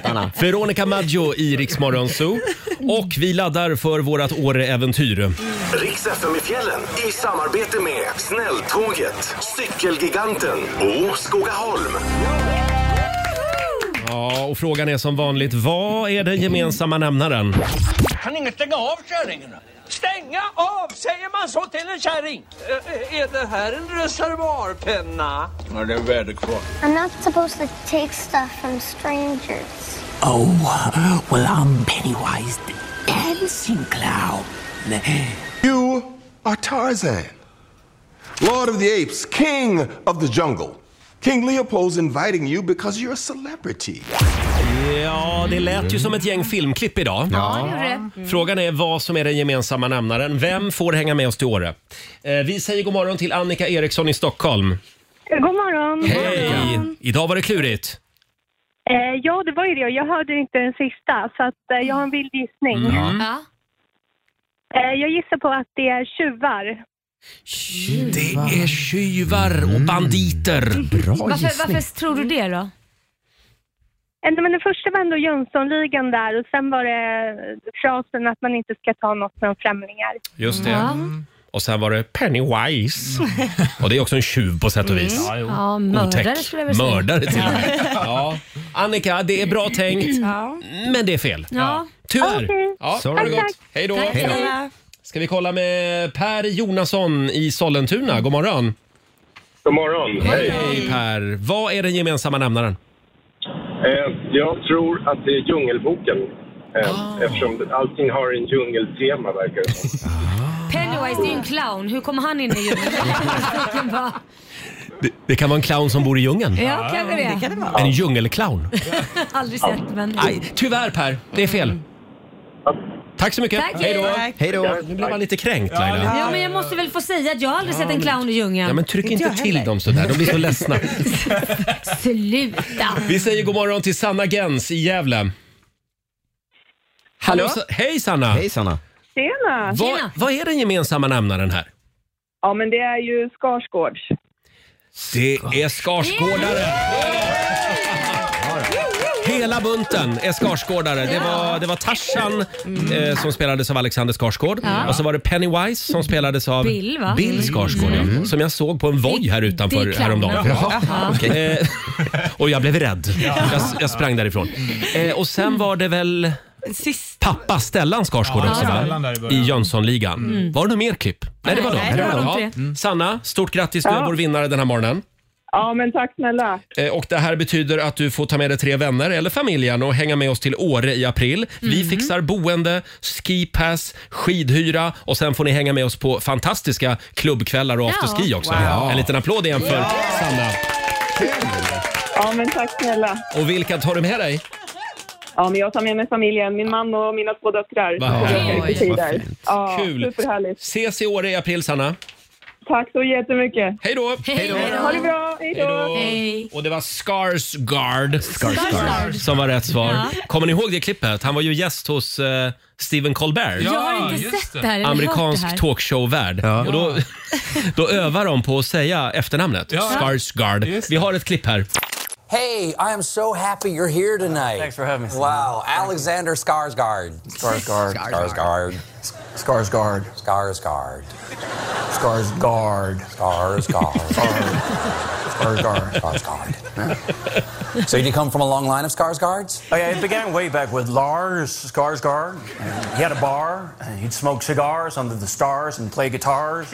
Veronica Maggio i Rix Morgon Zoo. Och vi laddar för vårt Åre-äventyr.
Riks FM i fjällen i samarbete med Snälltåget, Cykelgiganten och Skogaholm.
Ja, och frågan är som vanligt, vad är den gemensamma nämnaren?
Kan ingen stänga av kärringarna? Stänga av, säger man så till en kärring? Eh, är det här en reservoarpenna? Ja, det är väder kvar.
I'm not supposed to take stuff from strangers.
Oh, well I'm Pennywise the dancing clown.
You are Tarzan, Lord of the Apes, King of the Jungle. King Leopold's inviting you because you're a celebrity.
Ja, det lät ju som ett gäng filmklipp idag. Frågan är vad som är den gemensamma nämnaren. Vem får hänga med oss till Åre? Eh, Vi säger god morgon till Annika Eriksson i Stockholm.
God morgon.
Hej! Idag var det klurigt.
Eh, ja, det var ju det. Jag hörde inte den sista, så att, eh, jag har en vild gissning.
Mm.
Ja.
Eh, jag gissar på att det är tjuvar.
Det är tjuvar
Mm.
och banditer.
Bra
Varför,
gissning.
varför tror du det då?
Eh, nej, men den första var ändå Jönssonligan där och sen var det eh, frasen att man inte ska ta något från främlingar.
Just det. Mm. Och sen var det Pennywise. Och det är också en tjuv på sätt och vis.
Ja, mördare
Otäck.
skulle jag vilja säga.
Mördare till och med. Ja. Annika, det är bra tänkt, men det är fel.
Ja.
Tyvärr.
Okej.
Ja, ha det
Tack,
gott.
tack.
Hej då. Ska vi kolla med Per Jonasson i Sollentuna. God morgon.
God morgon. Hej.
Hej Per. Vad är den gemensamma nämnaren?
Eh, jag tror att det är Djungelboken. Eh,
Ah.
Eftersom det- allting har en djungeltema verkar det som.
Pennywise, det är ju en clown. Hur kommer han in i djungeln?
Det, kan vara en clown som bor i djungeln.
ja, kanske det.
Kan det vara?
En djungelclown.
Aldrig sett, men...
Nej, tyvärr Per. Det är fel. Tack så mycket.
Tack,
Hej då.
Tack.
Hej då.
Nu blev man lite kränkt Laila.
Ja, men jag måste väl få säga att jag har aldrig sett en clown i djungeln.
Ja, men tryck inte
jag
till
heller.
dem sådär. De blir så ledsna.
Sluta!
Vi säger god morgon till Sanna Gens i Gävle. Hallå? Sa- Hej Sanna!
Hej Sanna.
Tjena!
Vad,
Tjena.
vad är den gemensamma nämnaren här?
Ja, men det är ju Skarsgårds.
Det är Skarsgårdare! Hela bunten är Skarsgårdare. Det var, det var Tarzan eh, som spelades av Alexander Skarsgård. Och så var det Pennywise som spelades av
Bill, va? Mm.
Bill Skarsgård. ja. Som jag såg på en voj här
det är
utanför
clownen.
häromdagen.
Jaha.
Eh, och jag blev rädd. Jag, jag sprang därifrån. Eh, och sen var det väl
Sist.
pappa Stellan Skarsgård
Ja,
också va?
Stellan där i början.
I Jönssonligan. Var det något mer klipp? Nej, det var de.
Nej, det var
de
Ja.
tre.
Mm. Sanna, stort grattis. Du är vår vinnare den här morgonen.
Ja, men tack snälla.
Eh, Och Det här betyder att du får ta med dig tre vänner eller familjen och hänga med oss till Åre i april. Vi fixar boende, skipass, skidhyra och sen får ni hänga med oss på fantastiska klubbkvällar och
Ja.
afterski också.
Wow.
En liten applåd igen för Sanna.
Ja, men tack snälla.
Och vilka tar du med dig?
Ja, men jag tar med mig familjen, min man och mina två döttrar.
Vad härligt.
Oj,
Vad fint.
Ja,
Kul.
superhärligt.
Ses i Åre i april, Sanna.
Tack så jättemycket.
Hej då!
Hej då. Ha det bra. Hej då.
Och det var Skarsgård
Skarsgård.
som var rätt svar.
Ja.
Kommer ni ihåg det klippet? Han var ju gäst hos eh, Stephen Colbert.
Jag har inte sett det här. eller hört
Amerikansk
det här.
talkshow-värd. Och då, då övar de på att säga efternamnet.
Ja.
Skarsgård. Vi har ett klipp här.
Hey, I am so happy you're here tonight. Thanks for having me. Wow, Alexander Skarsgård. Skarsgård. Skarsgård. Skarsgård. Skarsgård. Skarsgård. Skarsgård. Skarsgård. Skarsgård. So you come from a long line of Skarsgårds?
Oh, yeah, it began way back with Lars Skarsgård. He had a bar. and He'd smoke cigars under the stars and play guitars.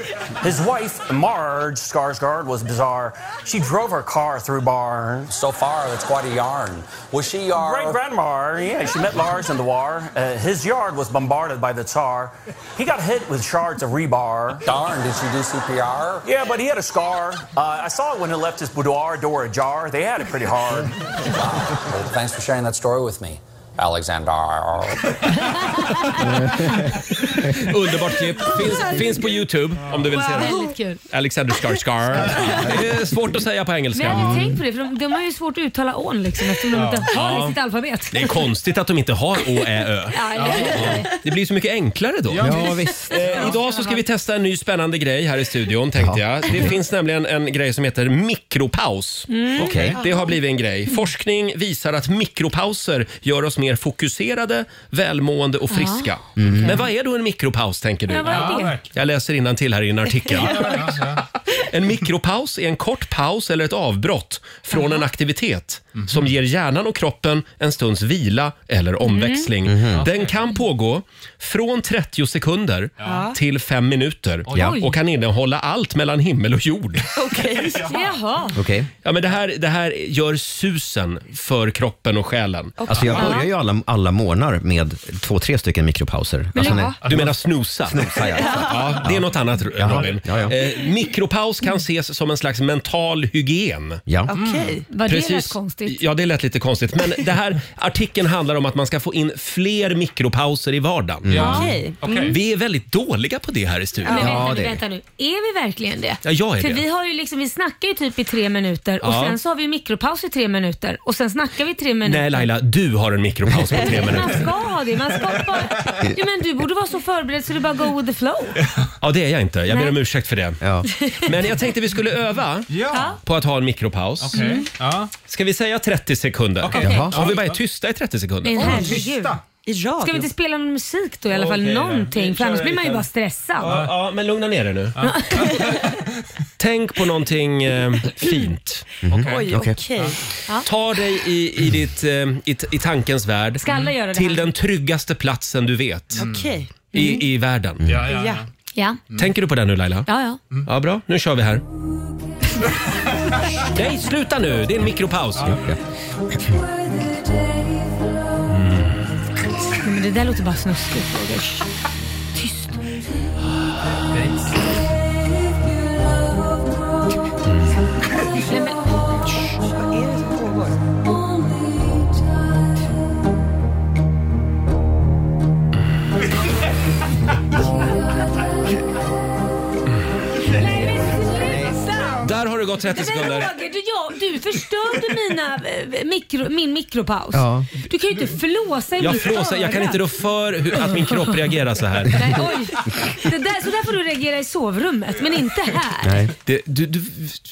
His wife, Marge Skarsgård, was bizarre. She drove her car through bars.
So far, that's quite a yarn. Was she your
great grandma? Yeah, she met Lars in the war. Uh, his yard was bombarded by the Tsar. He got hit with shards of rebar.
Darn, did she do CPR?
Yeah, but he had a scar. Uh, I saw it when he left his boudoir door ajar. They had it pretty hard.
Well, thanks for sharing that story with me, Alexander.
Underbart klipp. Finns, finns på Youtube om du vill se det.
Väldigt kul.
Alexander Skarsgård. Det är svårt att säga på
Men jag
engelska.
hade tänkt på det, för de, de har ju svårt att uttala ån liksom, eftersom de
Ja.
inte har
Ja.
det i sitt alfabet.
Det är konstigt att de inte har Å, Ä, Ö.
Ja, eller hur?
Det blir så mycket enklare då.
Ja, Ja, visst.
Eh, idag så ska vi testa en ny spännande grej här i studion tänkte jag. Det finns nämligen en grej som heter mikropaus.
Mm. Okej. Mm.
Det har blivit en grej. Forskning visar att mikropauser gör oss mer fokuserade, välmående och friska. Men vad är då en mikropaus tänker du?
Mm. Ja, vad är det?
Jag läser innan till här i en artikel. En mikropaus är en kort paus eller ett avbrott från en aktivitet
Mhm.
som ger hjärnan och kroppen en stunds vila
Mm.
eller omväxling.
Mhm.
Den kan pågå från 30 sekunder
Ja.
till 5 minuter
Oj. Oj.
och kan innehålla allt mellan himmel och jord.
Okej. Jaha.
Ja, men det, här, det här gör susen för kroppen och själen.
Alltså jag börjar ju alla, alla morgnar med två, tre stycken mikropauser.
Men
alltså,
ja. Du menar snosa?
Snosa, ja.
Ja, det är något annat Robin.
Ja, ja.
Eh, mikropaus kan ses som en slags mental hygien. Mm.
Ja.
Okej. Mm. Var det rätt konstigt?
Ja, det lät lite konstigt. Men det här artikeln handlar om att man ska få in fler mikropauser i vardagen.
Mm. Ja. Okej. Mm.
Vi är väldigt dåliga på det här i studion.
Men vänta, nu, vänta nu, är vi verkligen det?
Ja, jag är
För
det.
vi har ju liksom, vi snackar ju typ i tre minuter och
Ja.
sen så har vi mikropaus i tre minuter och sen snackar vi i tre minuter.
Nej Laila, du har en mikropaus på tre
Man
minuter.
ska ha det. Man ska bara... Jo, men du borde vara så förberedd så du bara go with the flow.
Ja, det är jag inte. Jag ber
Nej.
om ursäkt för det. Men jag tänkte vi skulle öva
Ja.
på att ha en mikropaus.
Okej. Mm.
Ska vi säga 30 sekunder?
Okej. Jaha.
Om vi bara är tysta i 30 sekunder.
Men herregud. Ska vi inte spela någon musik då i alla fall?
Okej,
Någonting,
vi kör
för annars blir man ju
lite-
bara stressad.
Ja, ja, men lugna ner er nu. Tänk på någonting eh, fint.
Mm. Oj, okej. Ja. Mm.
Ta dig i, i, ditt, eh, i, t- i tankens värld
Ska alla göra det
till
här?
den tryggaste platsen du vet
Mm. Okej.
i, Mm. i världen.
ja, Mm. ja. Ja.
Tänker du på det nu Laila?
Ja, ja.
Ja, bra. Nu kör vi här. Nej, sluta nu! Det är en mikropaus.
Nej, Men det där låter bara snuskigt. Tyst. Nej, men... Vad är det som pågår?
Där har det gått 30 sekunder.
Roger, du, ja, du förstörde mina, eh, mikro, min mikropaus.
Ja.
Du kan ju inte flåsa i
Jag
mitt
flåsar. Jag kan inte rå för hur, att min kropp reagerar så här.
Nej, oj. Det där, så där får du reagera i sovrummet, men inte här.
Det, du, du,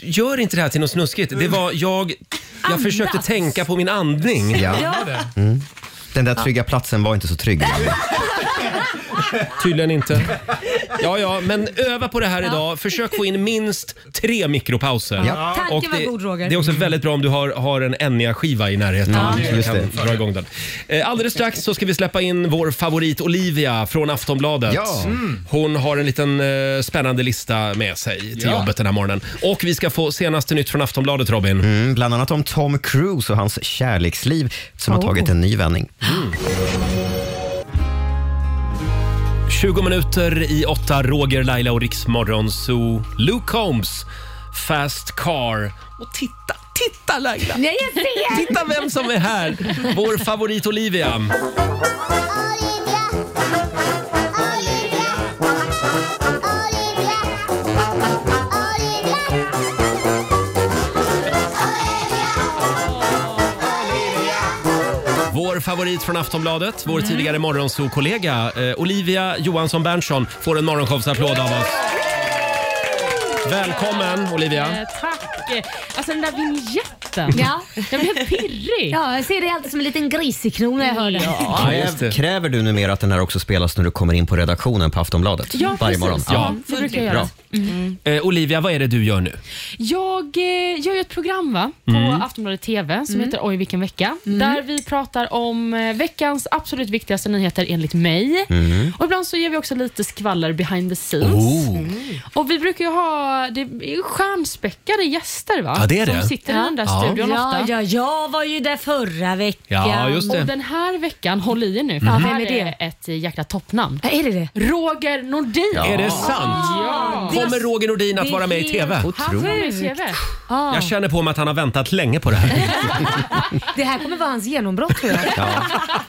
gör inte det här till något snuskigt. Det var jag... Jag
Andas.
försökte tänka på min andning.
Ja.
Ja.
Mm. Den där
Ja.
trygga platsen var inte så trygg.
Tydligen inte. Ja, ja, men öva på det här idag. Försök få in minst tre mikropauser.
Ja. Tanken var
det,
god, Roger.
Det är också väldigt bra om du har, har en Enya-skiva i närheten.
Ja.
Du
Just
kan
det.
Dra igång den. Eh, Alldeles strax så ska vi släppa in vår favorit Olivia från Aftonbladet.
Ja. Mm.
Hon har en liten eh, spännande lista med sig till
Ja.
jobbet den här morgonen. Och vi ska få senaste nytt från Aftonbladet, Robin.
Mm, bland annat om Tom Cruise och hans kärleksliv som
Oh.
har tagit en ny vändning.
20 minuter i åtta, Roger, Laila och Riksmorgon, så Luke Combs, Fast Car. Och titta, titta Laila!
Nej, jag ser!
Titta vem som är här! Vår favorit Olivia. favorit från Aftonbladet, vår tidigare morgonsokollega eh, Olivia Johansson Berntsson får en morgonshowsapplåd av oss. Välkommen Olivia!
Eh, tack! Alltså den där vinjetten.
Ja.
Jag blev pirrig.
Ja, jag ser det alltid som en liten grisekron när jag hör den.
Ja,
just
Kräv, kräver du numera att den här också spelas när du kommer in på redaktionen på Aftonbladet?
Ja,
varje
precis.
morgon?
Ja, det brukar jag göra.
Bra.
Mm.
Eh, Olivia, vad är det du gör nu?
Jag eh, gör ju ett program va, på
Mm.
Aftonbladet TV som
Mm.
heter Oj vilken vecka. Där vi pratar om eh, veckans absolut viktigaste nyheter enligt mig.
Mm.
Och ibland så ger vi också lite skvaller behind the scenes. Mm.
Oh.
Och Vi brukar ju ha det är ju stjärnspäckade gäster va?
Ja, det är det.
som sitter i den där
Ja.
studion
Ja,
ofta.
Ja, jag var ju där förra veckan.
Ja, Och den här veckan, håll i er nu, för
Ja,
det
vem
här
är det?
är ett eh, jäkla toppnamn.
är det det?
Roger Nordin.
Ja. Är det sant?
Ja.
Kommer Roger Nordin att
Det är
vara med i
helt
TV?
sjukt. Han får vara med i TV.
Ja.
Jag känner på mig att han har väntat länge på det här.
Det här kommer vara hans genombrott tror jag. För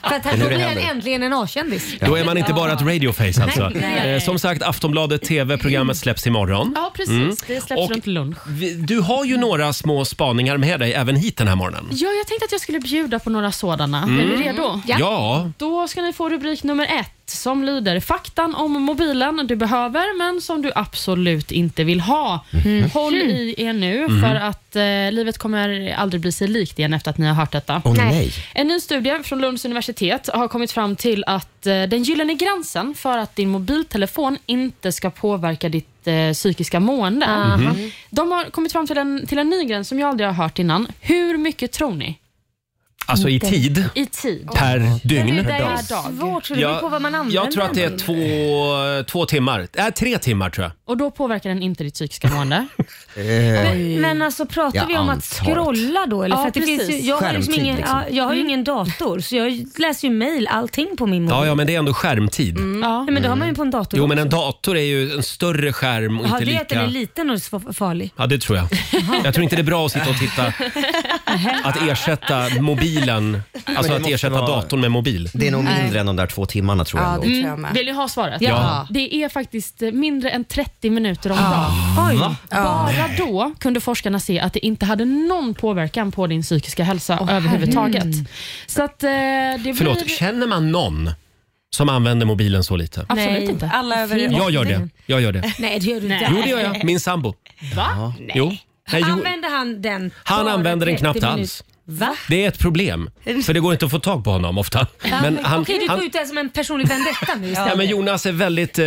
att
Det är
här
nu
då
det
blir han
händer.
äntligen en A-kändis.
Då är man inte bara ett radioface alltså.
Nej.
Eh, som sagt, Aftonbladet TV, programmet släpps imorgon. Mm.
Ja, precis. Det släpps
Och
runt lunch.
vi- Du har ju några små spaningar med dig även hit den här morgonen.
Ja, jag tänkte att jag skulle bjuda på några sådana.
Mm.
Är ni redo?
Ja. Ja.
Då ska ni få rubrik nummer ett som lyder “Faktan om mobilen du behöver men som du absolut inte vill ha”. Mm. Håll i er nu
Mm. Mhm.
för att eh, livet kommer aldrig bli sig likt igen efter att ni har hört detta.
Åh, nej. Nej.
En ny studie från Lunds universitet har kommit fram till att eh, den gyllene gränsen för att din mobiltelefon inte ska påverka ditt eh, psykiska mående.
Mhm.
De har kommit fram till en, till en ny gräns som jag aldrig har hört innan. Hur mycket tror ni?
Alltså i tid.
I tid.
Per dygn.
Eller per dag.
Svårt, så det beror på vad man
Jag,
använder
jag tror att det är
den till.
två, två timmar. Äh, tre timmar tror jag.
Och då påverkar den inte ditt psykiska mående? Eh.
Eh,
Men, men alltså pratar
Ja,
vi om att
antalet.
scrolla då? Eller?
Ja,
för att det finns ju,
precis. Mm.
jag, har liksom
Skärmtid,
ingen,
liksom.
ja, jag har ju ingen dator så jag läser ju mail, allting på min mobil.
Ja, ja, men det är ändå skärmtid.
Mm. Nej, men det har man ju på en dator
Jo, men en
också.
dator är ju en större skärm och
Jaha,
inte
det är att den är
lika...
liten och så farlig.
Ja, det tror jag. Jag tror inte det är bra att sitta och titta, att ersätta mobilen,
Men
alltså
det
att
måste
ersätta
vara-
datorn med mobil.
Det är nog
Nej.
mindre än de där två timmarna tror jag. ändå.
Mm. Vill ni ha svaret?
Ja. Ja.
Det är faktiskt mindre än 30 minuter om
Ah.
dagen.
Oj. Va?
Bara då kunde forskarna se att det inte hade någon påverkan på din psykiska hälsa överhuvudtaget. Så att, eh, det
Förlåt,
blir...
känner man någon som använder mobilen så lite?
Absolut inte. Alla över
Jag gör det. Jag gör det.
Nej, det gör du inte.
Jo, det gör jag. Min sambo.
Va?
Jo. Nej, jo.
Använder han den?
Han
bara
använder den
30
knappt
minuter?
alls.
Va?
Det är ett problem, för det går inte att få tag på honom ofta. Men han,
Okej, du
han,
går ut det som en personlig vendetta nu
ja,
istället.
men Jonas är väldigt eh,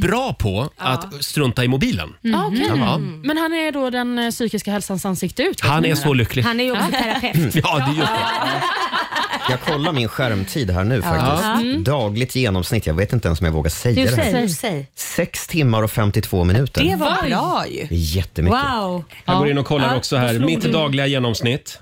bra på att strunta i mobilen.
Ah, okej.
Mm. Ja.
Men han är då den eh, psykiska hälsans ansikte ut?
Han är så lycklig. Mm.
Han är ju också terapeut.
Ja, det är just
Jag kollar min skärmtid här nu
Ja.
faktiskt.
Mm.
Dagligt genomsnitt, jag vet inte ens om jag vågar säga
Du
det. här.
säger, säg.
Sex timmar och 52 minuter.
Det var Oj. bra
ju. Jättemycket.
Wow.
Jag går
Ja.
in och kollar
Ja,
också
då
här.
slog
Mitt
du-
dagliga genomsnitt.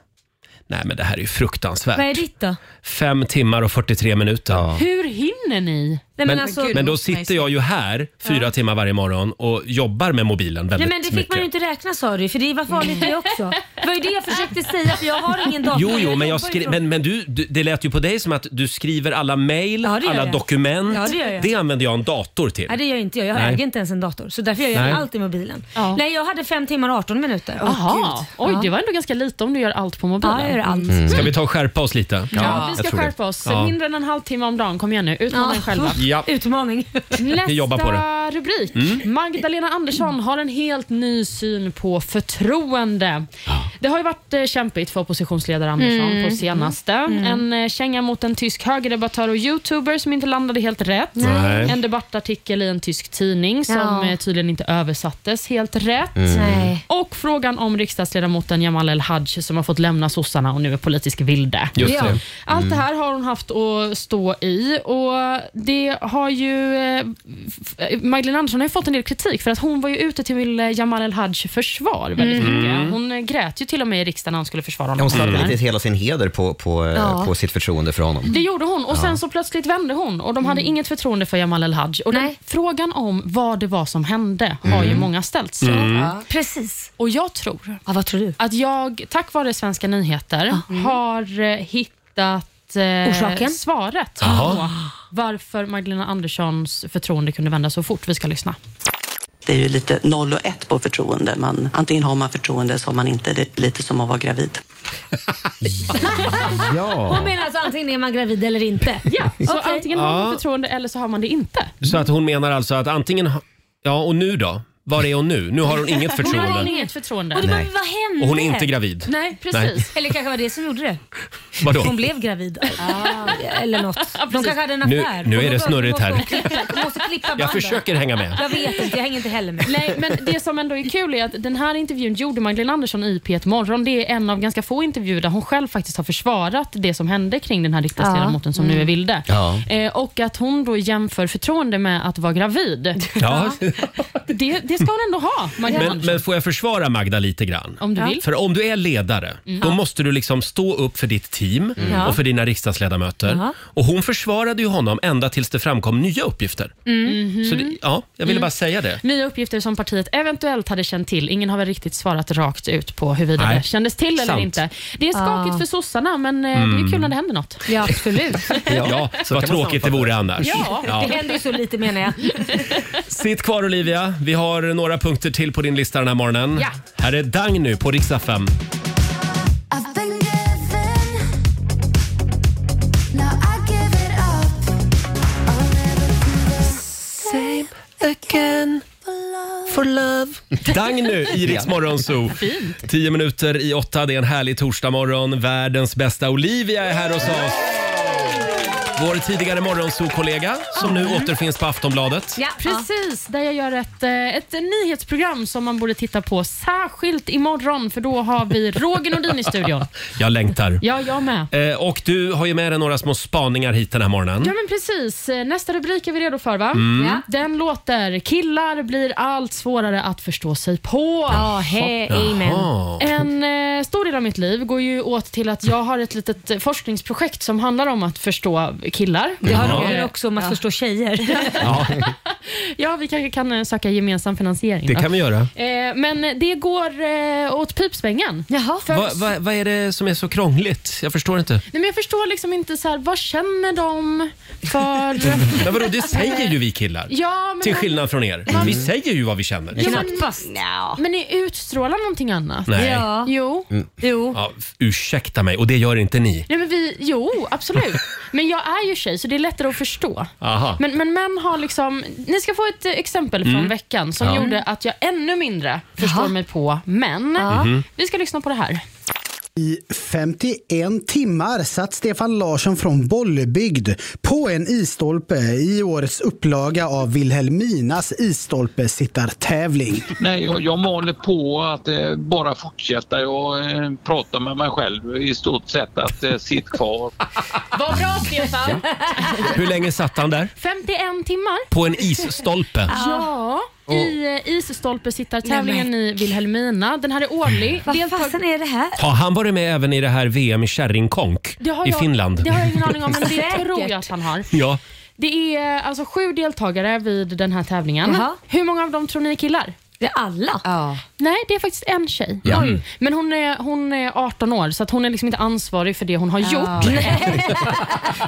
Nej, men det här är ju fruktansvärt.
Vad är ditt då?
Fem timmar och 43 minuter.
Hur hinner ni?
Nej,
Men,
men, alltså,
men då sitter jag ju här fyra timmar varje morgon och jobbar med mobilen
Nej
väldigt
men det fick
mycket.
man ju inte räkna sa du för det var farligt det också. Det var ju det jag försökte säga för jag har ingen dator.
Jo, jo, men, jag
jobbar ju
skri-
från-
men, men du, du, det lät ju på dig som att du skriver alla mejl,
Ja, det gör
alla
jag.
dokument.
Ja, det gör jag.
använder jag en dator till.
Nej det gör inte jag. Jag
Nej.
äger inte ens en dator. Så därför gör jag
Nej.
allt i mobilen. Nej jag hade 5 timmar och 18 minuter.
Jaha,
Åh,
oj
gud.
det var ändå ganska lite om du gör allt på mobilen.
Ja, jag gör allt.
Mm. Ska vi ta och skärpa oss lite?
Ja, vi ska skärpa oss. Mindre än en halvtimme om dagen. Kom igen nu, utmana
Ja.
er själva.
Ja.
Utmaning.
Nästa
Vi jobbar på
rubrik.
Mm.
Magdalena Andersson har en helt ny syn på förtroende. Det har ju varit eh, kämpigt för oppositionsledare Andersson
Mm.
på senaste.
Mm.
En eh, känga mot en tysk högerdebattör och youtuber som inte landade helt rätt.
Nej.
En debattartikel i en tysk tidning som
Ja.
eh, tydligen inte översattes helt rätt.
Mm. Nej.
Och frågan om riksdagsledamoten Jamal El-Haj som har fått lämna sossarna och nu är politisk vilde.
Just det.
Allt det
Mm.
här har hon haft att stå i och det har ju... eh, f- eh, Magdalena Andersson har ju fått en del kritik för att hon var ju ute till eh, Jamal El-Hajs försvar väldigt
Mm.
mycket. Hon eh, grät ju till och med i riksdagen när hon skulle försvara honom.
Hon
Mm.
Mm.
satte lite hela sin heder på, på, eh,
Ja.
på sitt förtroende för honom.
Det gjorde hon och sen
Ja.
så plötsligt vände hon och de hade inget förtroende för Jamal El-Haj. Och den, frågan om vad det var som hände har ju
Mm.
många ställt sig.
Mm. Ja.
Precis.
Och jag tror
ja, vad tror du?
att jag, tack vare Svenska nyheter, har eh, hittat eh,
Orsaken?
svaret
Jaha.
på varför Magdalena Anderssons förtroende kunde vända så fort. Vi ska lyssna.
Det är ju lite noll och ett på förtroende. Man, antingen har man förtroende så har man inte. Det är lite som att vara gravid.
Ja.
Hon menar alltså antingen är man gravid eller inte? Ja,
så antingen har man
Ja.
förtroende eller så har man det inte.
Så att hon menar alltså att antingen... ha- Ja, och nu då? Var är hon nu? Nu har hon inget
Hon har
förtroende.
inget förtroende.
Och, då bara,
Nej.
vad hände?
Och hon är inte gravid.
Nej, precis.
Nej.
Eller kanske var det som gjorde det.
Vadå?
Hon blev gravid. Eller något. De kanske hade en
Nu-
affär.
nu är det
Och då
snurrigt här.
Måste hon klippa, måste klippa
Jag
banden.
försöker hänga med.
Jag vet inte, jag hänger inte heller med.
Nej, men det som ändå är kul är att den här intervjun gjorde Magdalena Andersson i P1 Morgon. Det är en av ganska få intervjuer där hon själv faktiskt har försvarat det som hände kring den här riksdagsledamoten som
Mm.
nu är vilde.
Ja.
Eh, och att hon då jämför förtroende med att vara gravid.
Ja.
Det, det ska hon ändå ha, Magdalena
Men,
Andersson.
men får jag försvara Magda lite grann?
Om du Ja. vill.
För om du är ledare,
Mm.
då
Ja.
måste du liksom stå upp för ditt team
Mm. Ja.
och för dina riksdagsledamöter.
Ja.
Och hon försvarade ju honom ända tills det framkom nya uppgifter.
Mhm.
Så det, ja, jag ville
Mm.
bara säga det.
Nya uppgifter som partiet eventuellt hade känt till. Ingen har väl riktigt svarat rakt ut på huruvida
Nej.
det kändes till eller
Sant.
inte. Det är skakigt
Ah.
för sossarna, men eh, det är
Mm.
kul när det händer något.
Ja, absolut.
Ja, vad tråkigt det vore annars.
Ja,
Ja.
det händer ju så lite menar jag.
Sitt kvar Olivia, vi har några punkter till på din lista den här morgonen.
Ja.
Här är Dang nu på riksdag 5.
I've been given. Now I give it up. I'll never do the same again. For love.
Dang nu i Rix Morgonzoo. Tio minuter i åtta, det är en härlig torsdagmorgon. Världens bästa Olivia är här hos oss. Vår tidigare morgonzoo-kollega som nu återfinns på Aftonbladet.
Ja, precis. Där jag gör ett, eh, ett nyhetsprogram som man borde titta på särskilt imorgon för då har vi Roger Nordin i studion.
Jag längtar.
Ja, jag med.
Eh, och du har ju med dig några små spaningar hit den här morgonen.
Ja men precis. Eh, Nästa rubrik är vi redo för va?
Mm. Ja.
Den låter “Killar blir allt svårare att förstå sig på”.
Ja, hej, amen. Jaha.
En eh, stor del av mitt liv går ju åt till att jag har ett litet eh, forskningsprojekt som handlar om att förstå killar.
Det har
Ja.
Roger också om att
Ja.
förstå tjejer.
Ja.
Ja, vi kanske kan eh, söka gemensam finansiering.
Det
då.
kan vi göra.
Eh, men det går eh, åt pipsvängen.
Jaha.
För,
Vad vad- vad är det som är så krångligt? Jag förstår inte.
Nej, men jag förstår liksom inte, så här, vad känner de för...
Men vadå, det säger ju vi killar.
Ja, men
Till
man-
skillnad från er.
man-
Vi säger ju vad vi känner.
Ja, men, men ni utstrålar någonting annat.
Nej.
Ja. Jo.
Mm.
Jo.
Ja, f- ursäkta mig, och det gör inte ni.
Nej, men vi, jo, absolut. Men jag är ju tjej, så det är lättare att förstå.
Aha.
Men, men män har liksom... Ni ska få ett eh, exempel från
Mm.
veckan som
Ja.
gjorde att jag ännu mindre förstår mig på män.
Ja. Mhm.
Vi ska lyssna på det här.
I 51 timmar satt Stefan Larsson från Bollebygd på en isstolpe i årets upplaga av Vilhelminas isstolpesittartävling.
Nej, jag, jag maler på att eh, bara fortsätta. Jag eh, pratar med mig själv i stort sett att eh, sitt kvar.
Vad bra, Stefan!
Hur länge satt han där?
51 timmar.
På en isstolpe?
Ja,
Och-
i eh, isstolpesittartävlingen i Vilhelmina. Den här är årlig. Vad fasen
är det här?
Har han varit med även i det här VM i kärringkonk i Finland?
Det har jag ingen aning om, men det
Säkert.
tror jag att han har.
Ja,
Det är alltså sju deltagare vid den här tävlingen.
Jaha.
Hur många av dem tror ni är killar?
Det är alla.
Nej, det är faktiskt en tjej.
Ja.
Oj. Men hon är, hon är 18 år, så att hon är liksom inte ansvarig för det hon har gjort.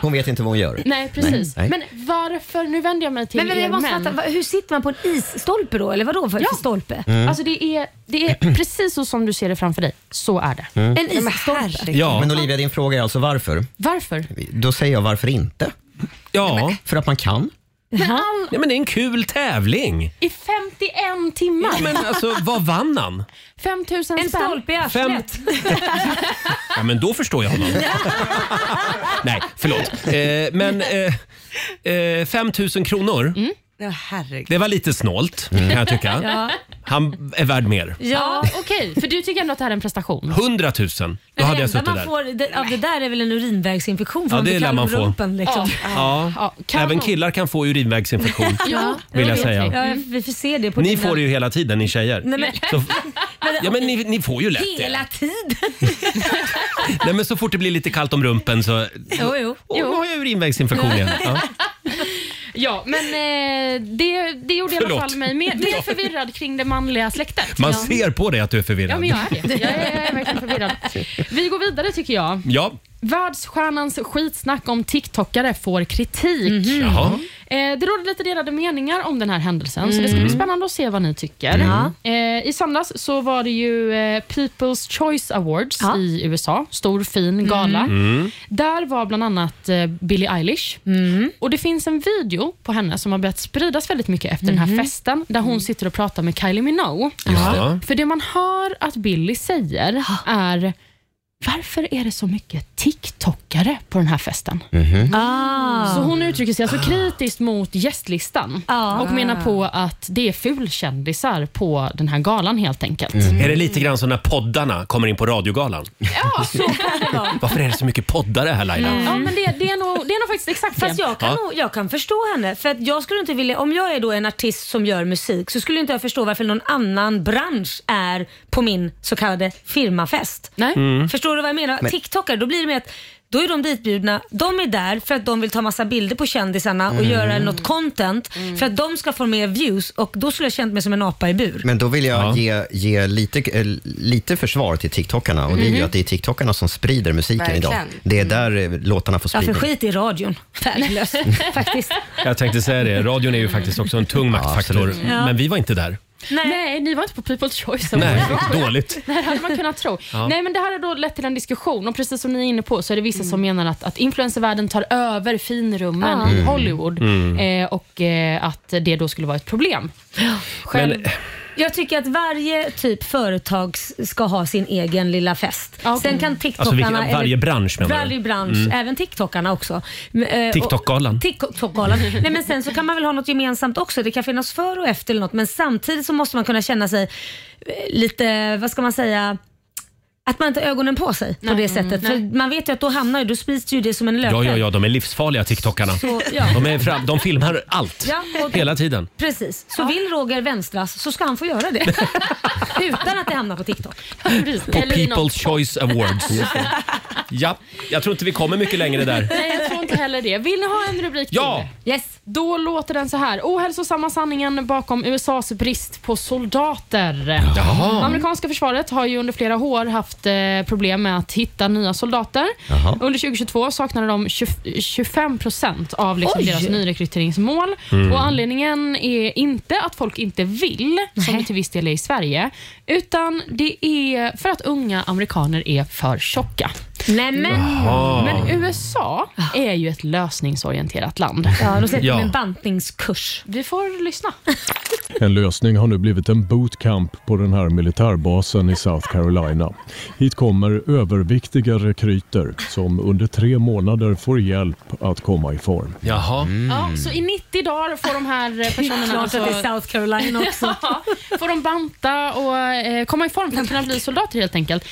Hon vet inte vad hon gör.
Nej, precis.
Nej.
Men varför, nu vänder jag mig till
Men, men
er
jag måste
män.
fatta, va- hur sitter man på en isstolpe då? Eller vadå för, för stolpe?
Mm.
Alltså det är, det är precis så som du ser det framför dig. Så är det.
Mm.
En isstolpe.
Men Olivia, din fråga är alltså varför?
Varför?
Då säger jag varför inte?
Ja.
För att man kan.
Men all,
ja men det är en kul tävling.
I 51 timmar?
Ja, men alltså, vad vann han?
5 000 spänn. En stolpe i
arslet. Ja, men då förstår jag honom. Nej, förlåt. Eh, men eh, eh, 5 000 kronor,
Ja, herregud.
det var lite snålt kan jag tycka.
Ja.
Han är värd mer.
Ja, okej. För du tycker ändå att det här är en prestation?
100 000, då hade jag
enda
suttit
man
där.
får det, av det där är väl en urinvägsinfektion för
Ja,
man
det
blir
lär
kall
man
om
få.
rumpen. Liksom.
Ja. Även killar kan få urinvägsinfektion, vill jag säga.
Ja, vi får se det på
Ni
dina-
får det ju hela tiden, ni tjejer.
Nej, men,
Så, ja, men ni, ni får ju lätt det.
Hela tiden?
Nej, men så fort det blir lite kallt om rumpen så...
Jo, jo.
Åh, nu har jag urinvägsinfektion igen. Ja.
Ja, men eh, det, det gjorde i alla
Förlåt.
fall mig mer, mer förvirrad kring det manliga släktet.
Man
ja.
ser på dig att du är förvirrad.
Ja, men jag är det. Jag är, jag är verkligen förvirrad. Vi går vidare tycker jag.
Ja.
Världsstjärnans skitsnack om TikTokare får kritik.
Mhm. Jaha.
Eh, Det råder lite delade meningar om den här händelsen, så det ska
Mm.
bli spännande att se vad ni tycker.
Ja.
Eh, I söndags så var det ju eh, People's Choice Awards i USA. Stor fin gala.
Mm.
Där var bland annat eh, Billie Eilish. Och Det finns en video på henne som har börjat spridas väldigt mycket efter den här festen, där hon sitter och pratar med Kylie Minogue.
Mhm. Mm. Just det.
För det man hör att Billie säger är varför är det så mycket TikTokare på den här festen?
Ah.
Så hon uttrycker sig alltså kritiskt mot gästlistan och menar på att det är fulkändisar på den här galan helt enkelt.
Mm. Är det lite grann som när poddarna kommer in på radiogalan?
Ja, så kan det vara.
Varför är det så mycket poddare här Laila?
Ja,
men det, det, är nog, det är nog faktiskt exakt
Mm. Fast
det.
jag kan,
Ja.
nog, jag kan förstå henne. För att jag skulle inte vilja, om jag är då en artist som gör musik så skulle inte jag förstå varför någon annan bransch är på min så kallade firmafest.
Nej.
Mm.
Förstår du vad jag menar?
Men-
TikTokare, då blir det mer att då är de ditbjudna. De är där för att de vill ta massa bilder på kändisarna och
Mm.
göra något content
Mm.
för att de ska få mer views och då skulle jag känt mig som en apa i bur.
Men då vill jag ge, ge lite, eh, lite försvar till TikTokarna. Och det är ju
Mhm.
att det är TikTokarna som sprider musiken
Verkligen. Mm.
idag. Det är där eh, låtarna får
Ja, för
spridning.
skit i radion. Värdelös, faktiskt.
Jag tänkte säga det, radion är ju faktiskt också en tung maktfaktor.
absolut. Ja.
Men vi var inte där.
Nej. ni var inte på People's Choice
Nej,
Awards.
dåligt.
Nej, det hade man kunnat tro.
Ja.
Nej, men det här har då lett till en diskussion och precis som ni är inne på så är det vissa som menar att, att influencervärlden tar över
Mm.
finrummen
Ja.
i
Mm.
Hollywood
Mm.
eh, och eh, att det då skulle vara ett problem. Själv,
Men-
Jag tycker att varje typ företag s- ska ha sin egen lilla fest. Sen kan TikTokarna...
Alltså vilka- varje
eller-
bransch menar du?
Varje bransch,
Mm.
även TikTokarna också. Men, eh, och-
TikTok-galan.
TikTok-galan. Nej men sen så kan man väl ha något gemensamt också. Det kan finnas för och efter eller något. Men samtidigt så måste man kunna känna sig eh, lite, vad ska man säga, att man inte har ögonen på sig på det sättet. För man vet ju att då hamnar ju, då sprids ju det som en löpeld.
Mm, Ja, ja, ja, de är livsfarliga TikTokarna.
Så, ja.
De, är fram, de filmar allt.
Ja, och-
Hela tiden.
Precis. Så vill Roger vänstras så ska han få göra det. Utan att det hamnar på TikTok.
På People's Choice Awards. Ja, jag tror inte vi kommer mycket längre där.
Nej, jag tror inte heller det. Vill ni ha en rubrik
Ja!
till? Yes. Då låter den så här. Ohälsosamma sanningen bakom USAs brist på soldater.
Jaha.
Amerikanska försvaret har ju under flera år haft eh, problem med att hitta nya soldater.
Jaha.
Under 2022 saknade de 20, 25 procent av liksom
Oj.
deras nyrekryteringsmål.
Mm.
Och anledningen är inte att folk inte vill, som det till viss del är i Sverige, utan det är för att unga amerikaner är för tjocka.
Nej, men,
Jaha. men
men
USA är ju ett lösningsorienterat land.
Ja, de sätter
Ja.
en bantningskurs.
Vi får lyssna.
En lösning har nu blivit en bootcamp på den här militärbasen i South Carolina. Hit kommer överviktiga rekryter som under tre månader får hjälp att komma i form.
Jaha.
Ja, så i 90 dagar får de här eh, personerna...
Klart att det är South Carolina också.
ja, får de banta och eh, komma i form för att kunna bli soldater helt enkelt.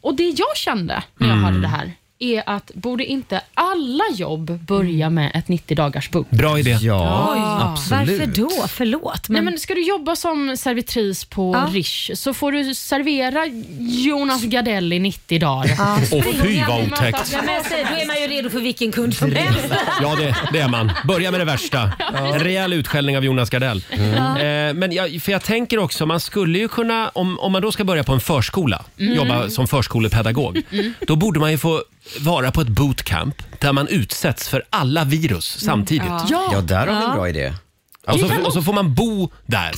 Och det jag kände när jag
Mm.
hörde det här är att borde inte alla jobb börja med ett 90 dagars boot?
Bra idé.
Ja, Ja. absolut.
Varför då? Förlåt.
Nej, men ska du jobba som servitris på
Ja.
Rish så får du servera Jonas Gardell i 90 dagar.
Ja.
Åh, fy, vad otäckt.
Ja, men jag säger, då är man ju redo för vilken kund som helst.
Ja, det, det är man. Börja med det värsta. En rejäl utskällning av Jonas Gardell.
Ja.
Eh, men jag, för jag tänker också, man skulle ju kunna, om, om man då ska börja på en förskola,
Mm.
jobba som förskolepedagog,
Mm.
då borde man ju få vara på ett bootcamp där man utsätts för alla virus samtidigt.
Ja. Ja, där har vi en Ja. bra idé.
Och så,
Det kan
och så får man bo där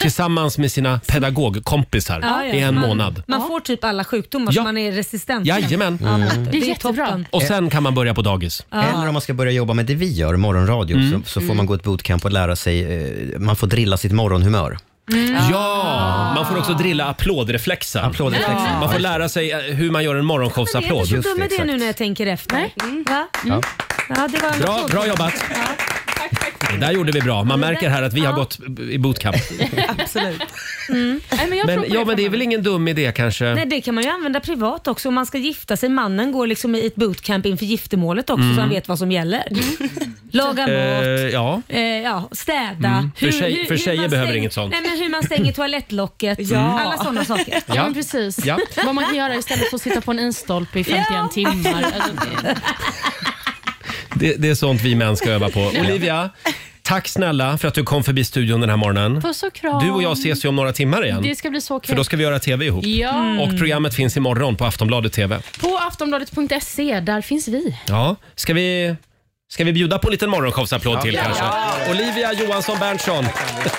tillsammans med sina pedagogkompisar
Ja, ja.
i en
man,
månad.
Man får typ alla sjukdomar
Ja.
som man är resistent
Jajamän.
Ja,
Mm.
Det är jättebra.
Och sen kan man börja på dagis.
Ja.
Eller om man ska börja jobba med det vi gör, morgonradio,
Mm.
så, så får
Mm.
man gå ett bootcamp och lära sig, eh, man får drilla sitt morgonhumör.
Mm.
Ja, man får också drilla applådreflexen.
Applådreflexen.
Man får lära sig eh, hur man gör en
Jag är
morgonshowsapplåd.
inte så dum med det nu när jag tänker efter. Mm. Va?
Ja.
Ja, det var en
Bra,
applåd.
bra jobbat. Det där gjorde vi bra.
Mm.
Man märker här att vi har gått i bootcamp.
Absolut. Mm. Nej, men jag tror
Men,
på
ja, men det är väl ingen dum idé kanske?
Nej, det kan man ju använda privat också. Om man ska gifta sig, mannen går liksom i ett bootcamp inför giftermålet också
Mm.
så han vet vad som gäller.
Mm.
Laga mat,
Eh, ja.
eh, ja, städa.
Mm. För tjej- för tjejer
man
behöver
stänger-
inget sånt.
Nej, men hur man stänger toalettlocket.
Ja.
Alla sådana saker.
Ja, Ja. men
precis.
Ja.
Vad man kan göra istället för att sitta på en isstolpe i 51 timmar. Alltså, det-
Det, det är sånt vi män ska öva på. Olivia, Tack snälla för att du kom förbi studion den här morgonen.
Puss och kram.
Du och jag ses ju om några timmar igen.
Det ska bli så kul.
För då ska vi göra TV ihop.
Ja. Mm.
Och programmet finns imorgon på Aftonbladet TV.
På aftonbladet.se, där finns vi.
Mm.
Ja, ska vi, ska vi bjuda på en liten morgonshowsapplåd till
Ja.
kanske? Olivia Johansson Berntsson.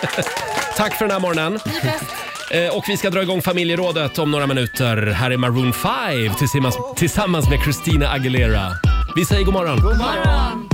Tack för den här morgonen. Eh, Och vi ska dra igång familjerådet om några minuter. Här är Maroon 5 tillsammans, tillsammans med Christina Aguilera. Vi säger god morgon. God
morgon.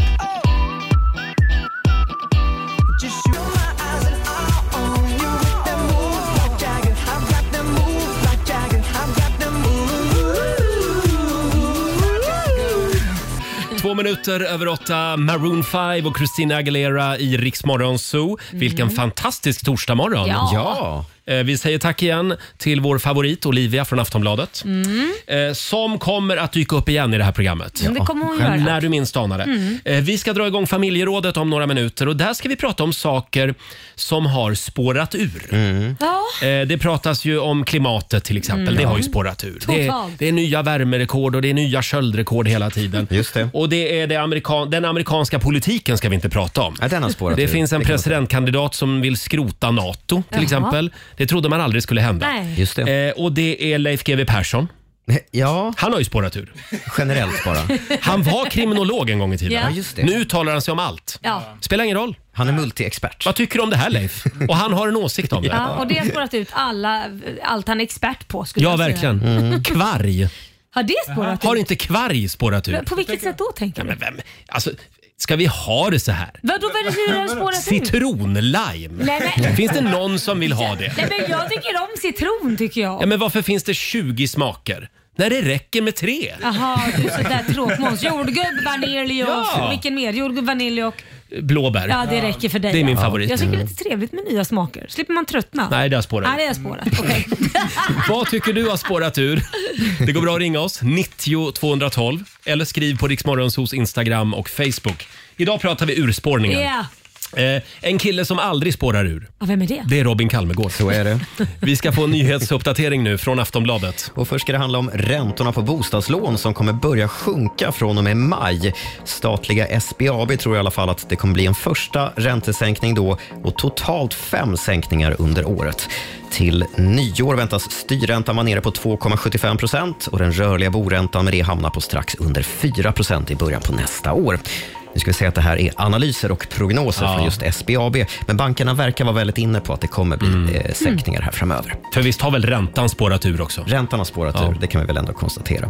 Två minuter över åtta, Maroon 5 och Christina Aguilera i Rix Morgon Zoo. Vilken fantastisk torsdagmorgon!
Mm. Ja.
Eh, Vi säger tack igen till vår favorit Olivia från Aftonbladet.
Mm.
eh, Som kommer att dyka upp igen i det här programmet.
Mm, det kommer hon göra.
När du minst anar det.
Mm.
Eh, Vi ska dra igång familjerådet om några minuter och där ska vi prata om saker som har spårat ur.
Ja.
Eh, Det pratas ju om klimatet till exempel.
Mm.
Det har ju spårat ur. Det är,
Totalt.
det är nya värmerekord och det är nya köldrekord hela tiden. Just det. Och det är det amerikan den amerikanska politiken ska vi inte prata om.
den har spårat
det
ur.
finns en
Det kan man säga.
presidentkandidat som vill skrota NATO till
Jaha.
exempel. Det trodde man aldrig skulle hända.
Nej. Just
Eh, och det är Leif GW Persson.
Ja.
Han har ju spårat ur.
Generellt bara.
Han var kriminolog en gång i tiden.
Ja. Ja, just det.
Nu talar han sig om allt.
Ja.
Spelar ingen roll.
Han är multiexpert.
Vad tycker du om det här Leif? Och han har en åsikt om det.
Ja, och det har spårat ut alla, allt han är expert på. Skulle
Ja,
jag säga.
verkligen.
Mm.
Kvarg.
Har det spårat
Har
ut?
inte kvarg spårat ur?
På vilket sätt då tänker
Ja,
du?
men vem? Alltså, ska vi ha det så här?
Vadå, vad är det du har spårat ut?
Citronlime?
Nej, men-
Finns det någon som vill ha det?
Nej, men jag tycker om citron tycker jag.
Ja, men varför finns det 20 smaker? När det räcker med tre?
Jaha, du är sådär tråkmåns. Jordgubb, vanilj och...
Ja.
Vilken mer? Jordgubb, vanilj och...
Blåbär.
Ja, det räcker för dig.
Det är min
ja.
favorit. Mm.
Jag tycker det är lite trevligt med nya smaker. slipper man tröttna.
Nej, det har spårat Mm.
Nej,
ur.
det har spårat. Okej.
Vad tycker du har spårat ur? Det går bra att ringa oss, 90 212 eller skriv på Riksmorgonsos Instagram och Facebook. Idag pratar vi urspårningar.
Ja.
Eh, en kille som aldrig spårar ur.
Ja, vem är det?
Det är Robin Kalmegård. Så
är det.
Vi ska få en nyhetsuppdatering nu från Aftonbladet.
Och först ska det handla om räntorna på bostadslån som kommer börja sjunka från och med maj. Statliga SBAB tror i alla fall att det kommer bli en första räntesänkning då och totalt fem sänkningar under året. Till nyår väntas styrräntan vara nere på 2,75 procent och den rörliga boräntan med det hamnar på strax under 4 procent i början på nästa år. Nu ska vi säga att det här är analyser och prognoser
Ja.
från just SBAB, men bankerna verkar vara väldigt inne på att det kommer bli eh, sänkningar här framöver.
Mm. För visst har väl räntan spårat ur också?
Räntan har spårat ur, det kan vi väl ändå konstatera.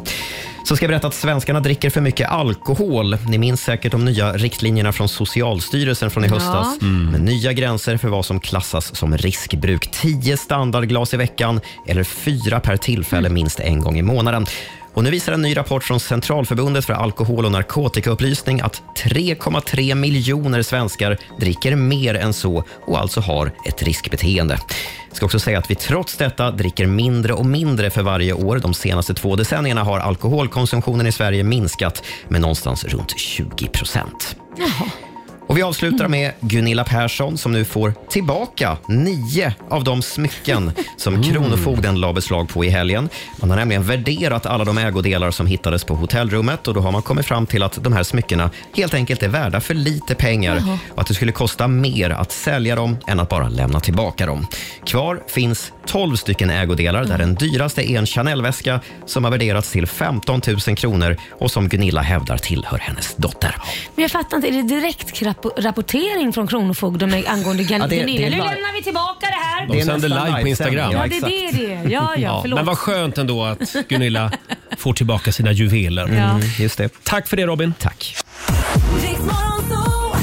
Så ska jag berätta att svenskarna dricker för mycket alkohol. Ni minns säkert de nya riktlinjerna från Socialstyrelsen från i
Ja.
höstas.
Mm.
Med nya gränser för vad som klassas som riskbruk. 10 standardglas i veckan eller fyra per tillfälle minst en gång i månaden. Och nu visar en ny rapport från Centralförbundet för alkohol och narkotikaupplysning att 3,3 miljoner svenskar dricker mer än så och alltså har ett riskbeteende. Jag ska också säga att vi trots detta dricker mindre och mindre för varje år. De senaste två decennierna har alkoholkonsumtionen i Sverige minskat med någonstans runt 20 procent. Och Vi avslutar med Gunilla Persson som nu får tillbaka nio av de smycken som Kronofogden la beslag på i helgen. Man har nämligen värderat alla de ägodelar som hittades på hotellrummet och då har man kommit fram till att de här smyckena helt enkelt är värda för lite pengar
Jaha.
och att det skulle kosta mer att sälja dem än att bara lämna tillbaka dem. Kvar finns 12 stycken ägodelar där den dyraste är en Chanel-väska som har värderats till 15 000 kronor och som Gunilla hävdar tillhör hennes dotter.
Men jag fattar inte, är det direkt rapp- rapportering från Kronofogden med- angående Gunilla?
Ja, det- det är
nu
live.
lämnar vi tillbaka det här.
De sänder live på Instagram.
Ja, det är det det är. Ja, ja, förlåt.
men vad skönt ändå att Gunilla får tillbaka sina juveler.
Ja. Mm,
just det.
Tack för det Robin.
Tack.
Riks Morgonzoo.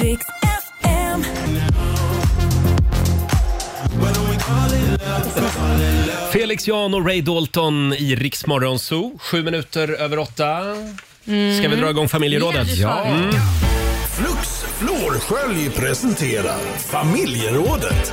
Riks FM.
Felix Jan och Ray Dalton i Rix Morgon Zoo. Sju minuter över åtta. Ska vi dra igång familjerådet? Mm.
Flux Florskölj presenterar Familjerådet.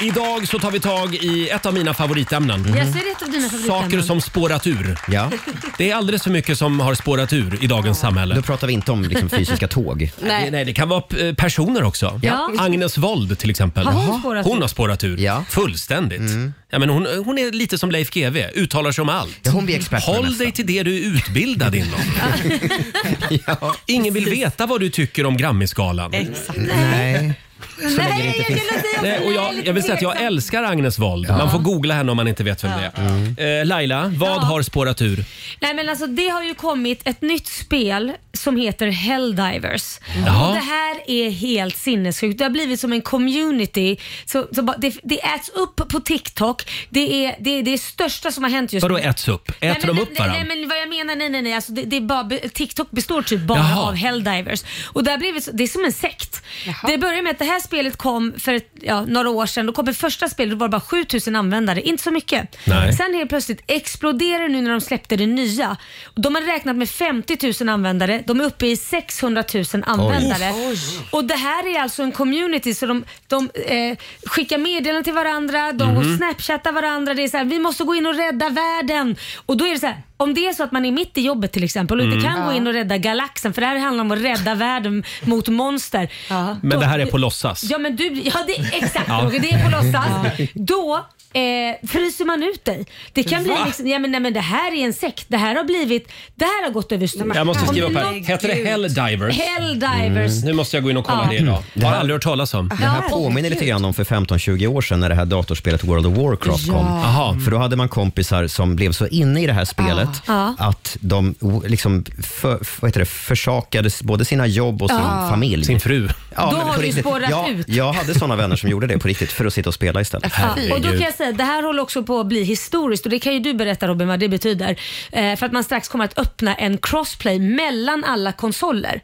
Idag så tar vi tag i ett av mina favoritämnen.
Yes, är det ett av dina favoritämnen?
Saker som spårat ur.
Ja.
Det är alldeles för mycket som har spårat ur i dagens samhälle. Då
pratar vi inte om liksom, fysiska tåg.
Nej. Det, nej, det kan vara eh, personer också.
Ja.
Agnes Wold till exempel.
Har hon spårat
hon
ur?
har spårat ur. Fullständigt.
Mm.
Ja, men hon, hon är lite som Leif GW, uttalar sig om allt.
hon blir expert på det
Håll
mesta.
dig till det du är utbildad inom. Ingen vill veta vad du tycker om Grammisgalan.
Exakt.
Nej.
Så länge det inte finns...
Nej, och jag, jag vill säga att jag älskar Agnes Wold. Man får googla henne om man inte vet vem det är. Eh, Laila, vad har spårat ur?
Nej men alltså det har ju kommit ett nytt spel som heter Helldivers.
Jaha.
Och det här är helt sinnessjukt. Det har blivit som en community. Så, så bara, det, det äts upp på TikTok. Det är det, är det största som har hänt just
Vadå
nu.
äts upp? Äter
nej, men,
de upp
nej,
varandra?
Nej, men vad jag menar, nej nej nej. Alltså, det, det är bara, be- TikTok består typ bara
Jaha.
av Helldivers. Och det, har blivit, så- det är som en sekt. Det börjar med att det här spelet kom för ett- ja, några år sedan. Då kom det första spelet och det var bara 7000 användare. Inte så mycket.
Nej.
Sen helt plötsligt exploderar det nu när de släppte det nya. De har räknat med 50 000 användare. De är uppe i 600 000 användare.
Oj. Oj.
Och det här är alltså en community så de, de eh, skickar meddelanden till varandra, de
Mhm.
går och snapchattar varandra. Det är så här, vi måste gå in och rädda världen. Och då är det så här, om det är så att man är mitt i jobbet till exempel och inte
Mm.
kan
Ja.
gå in och rädda galaxen, för det här handlar om att rädda världen mot monster.
Men
Då-
det här är på låtsas.
Ja men du, ja det är exakt
Ja.
Roger, det är på låtsas.
Ja.
Då eh, fryser man ut dig. Det kan bli
Va?
liksom, ja men, nej, men det här är en sekt. Det här har blivit, det här har gått överstyr.
Jag måste
Om
skriva
det
upp
är
här.
något-
Heter det Helldivers?
Helldivers.
Mm. Nu måste jag gå in och kolla
Ja.
Mm. det idag.
Det
Har
här-
aldrig hört talas om.
Det här
Ja,
påminner lite
herregud.
grann om för 15-20 år sedan när det här datorspelet World of Warcraft
Ja.
kom.
Mm.
Aha.
För då hade man kompisar som blev så inne i det här spelet
Ja.
att de o- liksom för, vad heter det, försakade s- både sina jobb och sin
Ja.
familj. Sin
fru.
Då har du spårat
jag,
ut.
Jag hade såna vänner som gjorde det på riktigt för att sitta och spela istället.
Ja, och då kan jag säga, det här håller också på att bli historiskt och det kan ju du berätta Robin vad det betyder. Eh, för att man strax kommer att öppna en crossplay mellan alla konsoler.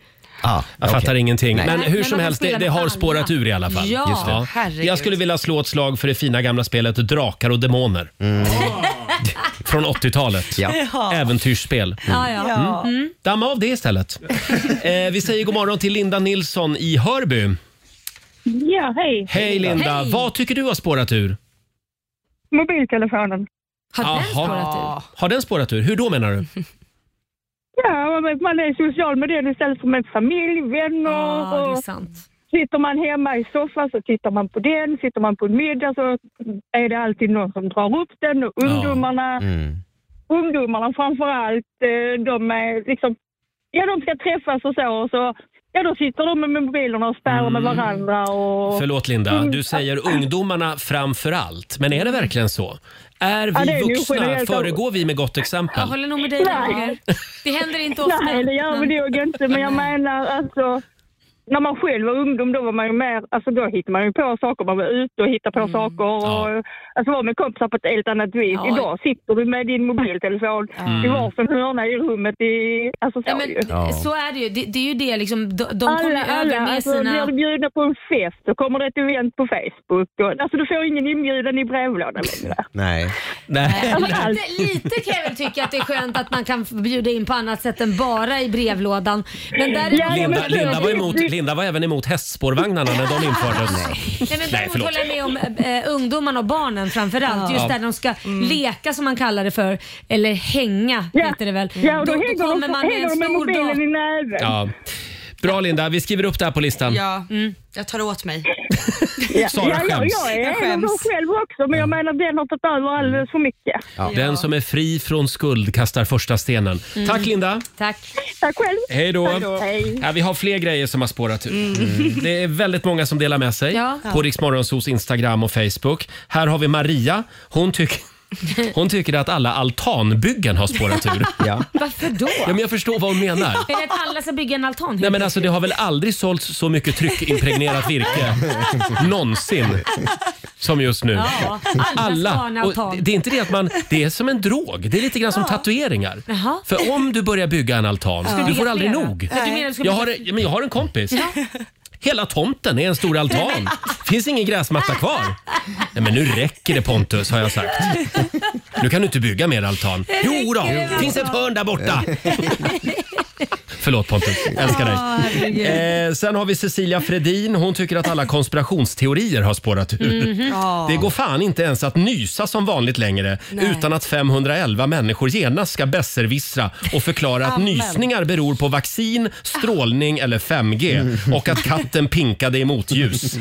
jag fattar ingenting.
Nej.
Men
Nej,
hur
men
som
man
helst,
kan
det,
spela
det
med
har
alla.
spårat ur i alla fall.
Ja, Just det. herregud.
Jag skulle vilja slå ett slag för det fina gamla spelet Drakar och Demoner. Ah. Från 80-talet.
Ja.
Äventyrsspel. Mm.
Ja, ja. Ja.
Damma av det istället. eh, vi säger god morgon till Linda Nilsson i Hörby.
Ja, hej.
Hej Linda! Vad tycker du har spårat ur?
Mobiltelefonen.
Har den spårat ur? Hur då menar du?
Ja, men man är social med den istället för med familj, vänner.
Ja, det är
och-
sant.
Sitter man hemma i soffan så tittar man på den. Sitter man på en middag så är det alltid någon som drar upp den. Och ungdomarna,
Mm.
ungdomarna framför allt, eh, de är liksom... Ja, de ska träffas och så. Och så ja, då sitter de med mobilerna och spärrar med
Mm.
varandra. Och,
Förlåt Linda, du säger ungdomarna framför allt. Men är det verkligen så? Är
Ja, det
vi
är ju
vuxna?
generellt-
Föregår vi med gott
Jag
exempel?
håller nog med dig
Nej.
Roger. Det händer inte ofta.
Nej, det gör vi nog inte. Men jag menar alltså... När man själv var ungdom då var man ju mer, alltså då hittade man ju på saker, man var ute och hittade på saker och alltså var med kompisar på ett helt annat vis.
Mm. Ja.
Idag sitter du med din mobiltelefon i varsin hörna i rummet. I, alltså så
Ja,
ju.
men, Så är det ju. Det, det är ju det liksom, de, de kommer ju
alla,
över
alla,
med
alltså blir
sina...
du bjudna på en fest så kommer det ett event på Facebook. Och, alltså du får ingen inbjudan i brevlådan längre.
Nej.
Nej.
Eh, Lite, lite kan jag väl tycka att det är skönt att man kan bjuda in på annat sätt än bara i brevlådan. Men där
Linda, Linda, var emot, Linda var även emot hästspårvagnarna när de infördes.
Nej, men
Nej,
däremot
förlåt.
håller jag med om eh, ungdomarna och barnen framförallt.
Ja.
Just
Ja.
där de ska leka som man kallar det för, eller hänga heter det väl.
Mm. Ja, och då hänger de- hänger de med mobilen i
näven.
Ja. Bra Linda, vi skriver upp det här på listan.
Ja,
Mm,
jag tar åt mig.
Sara
ja, jag,
skäms.
jag
Jag
är en av
skäms.
dem själv också men jag menar den har tagit över alldeles för mycket.
Den som är fri från skuld kastar första stenen.
Mm.
Tack Linda!
Tack.
Tack själv.
Hej då!
Hej.
Ja, vi har fler grejer som har spårat ur.
Mm.
Det är väldigt många som delar med sig
Ja.
på Riksmorgonsos Instagram och Facebook. Här har vi Maria. Hon, tyck hon tycker att alla altanbyggen har spårat ur. Ja.
Varför då?
Ja, men jag förstår vad hon menar.
Är det att alla ska bygga en altan?
Nej, men alltså, det har väl aldrig sålts så mycket tryckimpregnerat virke någonsin som just nu.
Ja, alla ska ha en altan.
Och det är inte det att man... Det är som en drog. Det är lite grann som tatueringar.
Jaha.
För om du börjar bygga en altan,
Ska du
du
bygga
får aldrig
flera?
nog.
Ja, du menar du ska
jag, har,
bygga-
men jag har en kompis. Hela tomten är en stor altan. finns ingen gräsmatta kvar. Nej, men nu räcker det Pontus, har jag sagt. Nu kan du inte bygga mer altan. Jo då,
räcker med
finns ett hörn där borta. Förlåt Pontus, älskar dig.
Ja, herregud.
eh, sen har vi Cecilia Fredin. Hon tycker att alla konspirationsteorier har spårat ur.
Mhm. Ja.
Det går fan inte ens att nysa som vanligt längre
Nej.
utan att 511 människor genast ska besserwissra och förklara att
Amen.
nysningar beror på vaccin, strålning eller 5G och att katten pinkade i motljus.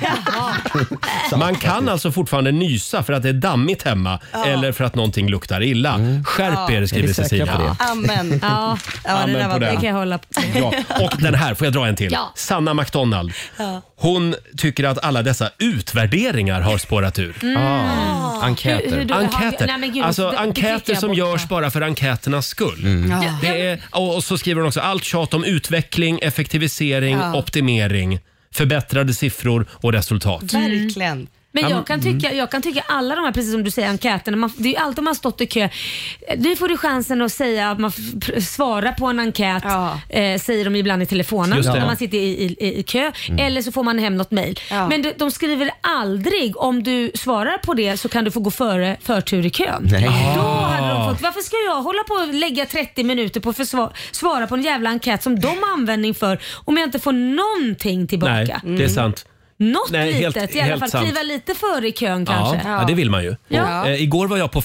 Man kan alltså fortfarande nysa för att det är dammigt hemma
Ja.
eller för att någonting luktar illa. Skärp er, skriver Cecilia.
Amen.
Ja, ja
Amen
det där
på
var bra.
det.
Det kan jag hålla på.
Ja, och den här, får jag dra en till?
Ja.
Sanna McDonald.
Ja.
Hon tycker att alla dessa utvärderingar har spårat ur.
Mm. Ah, enkäter. Hur- hur då?
enkäter.
Nej, men gud,
alltså,
det- det fick
enkäter
jag
som
borta.
görs bara för enkäternas skull.
Ja.
Det är, och och så skriver hon också allt tjat om utveckling, effektivisering,
Ja.
optimering, förbättrade siffror och resultat.
Verkligen.
Ja,
Mm. Men
men-
Mm.
jag kan, tycka, jag kan tycka alla de här, precis som du säger, enkäterna. Man, det är ju alltid om man har stått i kö. Nu får du chansen att säga, att man f- pr- svara på en enkät, eh, säger de ibland i telefonen
Just det.
när man sitter i, i, i, i kö.
Mm.
Eller så får man hem något mejl. Men de, de skriver aldrig, om du svarar på det så kan du få gå före förtur i kön.
Nej.
Då hade
Ah.
de fått, varför ska jag hålla på och lägga 30 minuter på att försva- svara på en jävla enkät som de har användning för om jag inte får någonting tillbaka?
Nej,
Mm.
det är sant.
Något
Nej,
litet
helt-
i alla
helt
fall.
sant.
Kliva lite före i kön
Ja,
kanske.
ja, det vill man ju.
Ja.
Eh, igår var jag på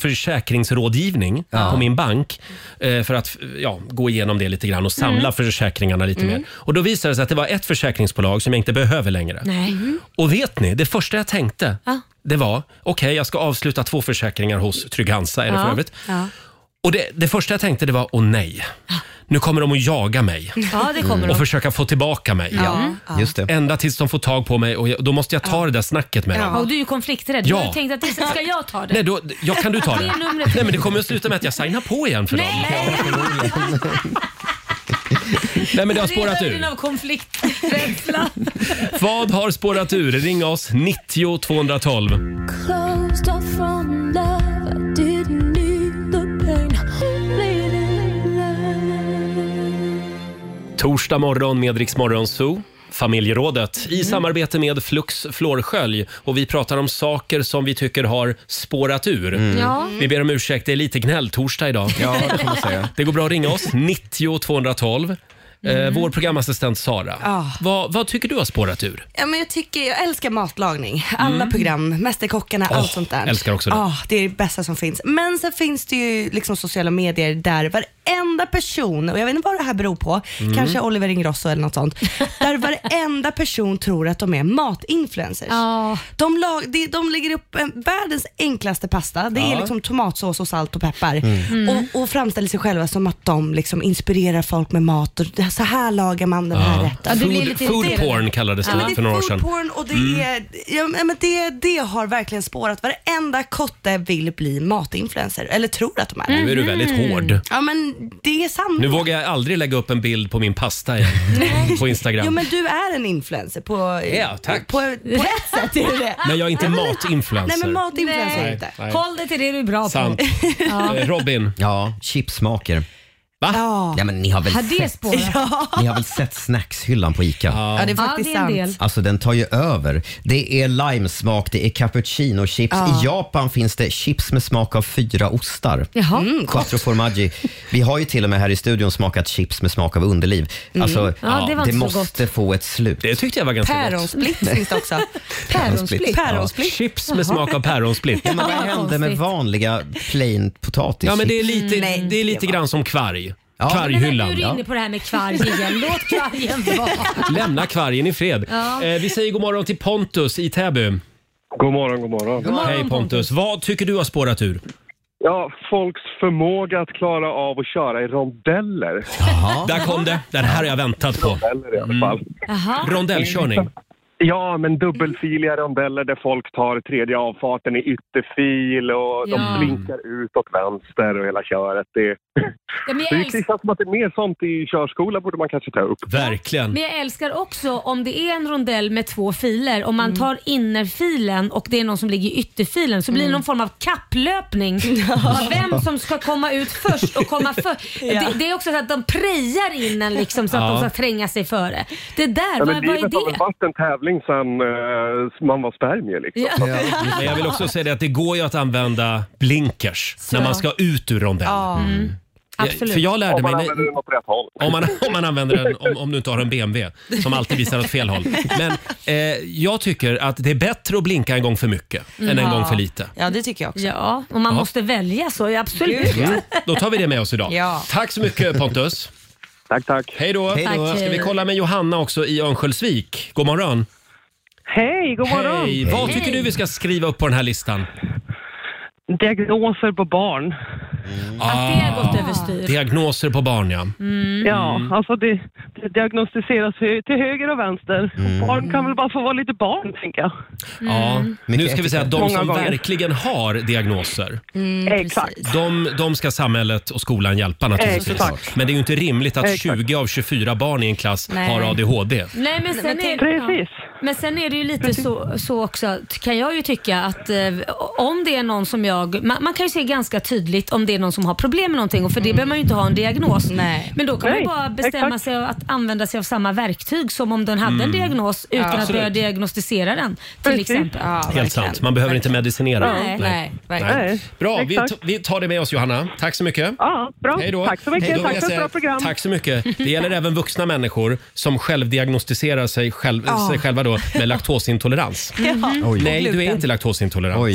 försäkringsrådgivning på min bank eh, för att ja, gå igenom det lite grann och samla
Mm.
försäkringarna lite
Mm.
mer. Och Då visade det sig att det var ett försäkringsbolag som jag inte behöver längre.
Nej.
Och vet ni, det första jag tänkte
Ja.
det var okej, jag ska avsluta två försäkringar hos Trygg-Hansa. Är det för
Ja.
övrigt. Och det, det första jag tänkte det var åh nej, nu kommer de att jaga mig
Ja, det kommer de.
Mm. och försöka få tillbaka mig.
Ja. Ja. Just
Ända tills de får tag på mig och jag, då måste jag ta det där snacket med dem.
Ja, och du är ju konflikträdd.
Ja.
Du har ju tänkt att det ska jag ta det.
Nej, då, ja, kan du ta det?
Ge numret.
Nej, men det kommer att sluta med att jag signar på igen för dem. Nej, men det har spårat
Det är
ur.
höjden av konflikträdsla.
Vad har spårat ur? Ring oss, 90 212.
Closed off from love, I didn't need the pain. Bleeding love.
Torsdag morgon med Rix Morgon Zoo. Familjerådet
Mm.
i samarbete med Flux Flårskölj. Och vi pratar om saker som vi tycker har spårat ur.
Mm. Ja.
Vi ber om ursäkt, det är lite gnälltorsdag idag.
Ja, det får man säga.
Det går bra att ringa oss, 90 212.
Mm.
Eh, vår programassistent Sara,
Ah.
Ja.
vad, vad tycker du har spårat ur?
Ja, men jag, tycker, jag älskar matlagning. Alla program, Mästerkockarna,
Mm. Åh,
allt sånt där.
älskar också det.
Ja, det är det bästa som finns. Men sen finns det ju liksom sociala medier där varenda person, och jag vet inte vad det här beror på,
Mm.
kanske Oliver Ingrosso eller något sånt, där varenda person tror att de är matinfluencers. De, lag, de, de lägger upp eh, världens enklaste pasta. Det
Ja.
är liksom tomatsås och salt och peppar.
Mm. Mm.
Och, och framställer sig själva som att de liksom inspirerar folk med mat. Och det- så här lagar man den här
Ja.
rätten.
Food- food porn kallades det
Ja, men
för några år
food
sedan.
porn och det,
Mm.
är, ja, men det, det har verkligen spårat. Varenda kotte vill bli matinfluencer, eller tror att de är det.
Nu är du väldigt hård.
Ja, men det är sant.
Nu vågar jag aldrig lägga upp en bild på min pasta igen på Instagram.
Jo, men du är en influencer på,
Ja, tack.
på, på ett sätt. Är du det.
Men jag är inte matinfluencer.
Nej, men matinfluencer
Nej,
är inte.
nej.
Håll dig till det du är bra
Sant.
på. Ja.
Eh, Robin?
Ja, chipsmaker.
Va?
Ja.
Nej, men ni har väl
Har det
sett,
spårat?
ni har väl sett snackshyllan på ICA?
Ja, det är faktiskt
Ja, det är en del.
sant.
Alltså den tar ju över. Det är limesmak, det är cappuccinochips.
Ja.
I Japan finns det chips med smak av fyra ostar.
Jaha. Mm,
Quattro formaggi. Vi har ju till och med här i studion smakat chips med smak av underliv.
Mm.
Alltså,
Ja, det var inte så
måste få ett slut.
Det tyckte jag var
Päronsplitt finns det också.
Päronsplitt.
Päronsplitt.
Chips med smak av päronsplitt.
Ja, men vad hände med vanliga plain potatis?
Ja, men det är lite,
Mm, Nej,
det är lite
det var-
grann som kvarg.
Nu är
Kvarghyllan.
du inne på det här med kvarg igen. Låt kvargen vara.
Lämna kvargen i fred.
Ja.
Eh, vi säger god morgon till Pontus i Täby.
God morgon, god morgon.
God morgon Hej Pontus. Vad tycker du har spårat ur?
Ja, folks förmåga att klara av att köra i rondeller.
Där kom det. Den här har jag väntat på.
Jaha.
Rondellkörning.
Ja, men dubbelfiliga rondeller där folk tar tredje avfarten i ytterfil och
Ja.
de blinkar ut åt vänster och hela köret. Det,
Ja, men
det
jag
är
älskar
känns som att det är mer sånt i körskola borde man kanske ta upp.
Verkligen.
Men jag älskar också om det är en rondell med två filer. Om
Mm.
man tar innerfilen och det är någon som ligger i ytterfilen så blir
Mm.
det någon form av kapplöpning. av Vem som ska komma ut först och komma för.
Ja.
det, det är också så att de prejar in en liksom, så att
Ja.
de ska tränga sig före. Det där,
Ja,
vad,
men
vad är
livet har väl
det?
varit en tävling sedan eh, man var spermie liksom.
Ja.
Men jag vill
Mm.
också säga det att det går ju att använda blinkers när man ska ut ur rondell.
Ja.
Jag, Mm. för jag lärde
Om
mig...
man använder den åt rätt håll.
Om man, om man använder den, om, om du inte har en BMW som alltid visar åt fel håll. Men eh, jag tycker att det är bättre att blinka en gång för mycket än en
Mm. Ja.
gång för lite.
Ja, det tycker jag också.
Ja, och man
Ja.
måste välja så, ja, absolut.
Mm. Då tar vi det med oss idag.
Ja.
Tack så mycket Pontus.
Tack, tack.
Hej då.
Hej då.
Ska vi kolla med Johanna också i Örnsköldsvik. God morgon.
Hej, god morgon.
Hej. Vad
Hej.
tycker du vi ska skriva upp på den här listan?
Diagnoser på barn.
Ah, Diagnoser på barn,
Mm.
ja.
Ja, alltså det, det diagnostiseras hö- till höger och vänster. Barn kan väl bara få vara lite barn, tänker jag.
ja. Nu ska vi säga att de
Många
som
gånger.
verkligen har diagnoser,
Exakt.
de, de ska samhället och skolan hjälpa naturligtvis.
Exakt.
Men det är ju inte rimligt att
Exakt.
20 av 24 barn i en klass
Nej.
har ADHD.
Nej, men sen, är,
Precis.
Ja. men sen är det ju lite så, så också, t- kan jag ju tycka att eh, om det är någon som jag... Man, man kan ju se ganska tydligt om det är någon som har problem med någonting och för
Mm.
det behöver man ju inte ha en diagnos.
Nej.
Men då kan man
Nej,
ju bara bestämma
exakt.
sig av att använda sig av samma verktyg som om den hade
Mm.
en diagnos utan
Ja.
att börja
Absolut.
diagnostisera den till
Precis.
exempel.
Helt sant. Man behöver inte medicinera.
Nej, nej, verkligen. Nej.
Bra, vi,
Exakt.
t- vi tar det med oss Johanna. Tack så mycket.
Ja, bra.
Hej då.
Tack så mycket.
Hej då,
Tack
jag
för ett
säger-
bra program.
Tack så mycket. Det gäller även vuxna människor som självdiagnostiserar sig, själv,
Ja.
sig själva då med laktosintolerans.
Ja. Oj.
Nej, du är
Gluten.
inte laktosintolerant.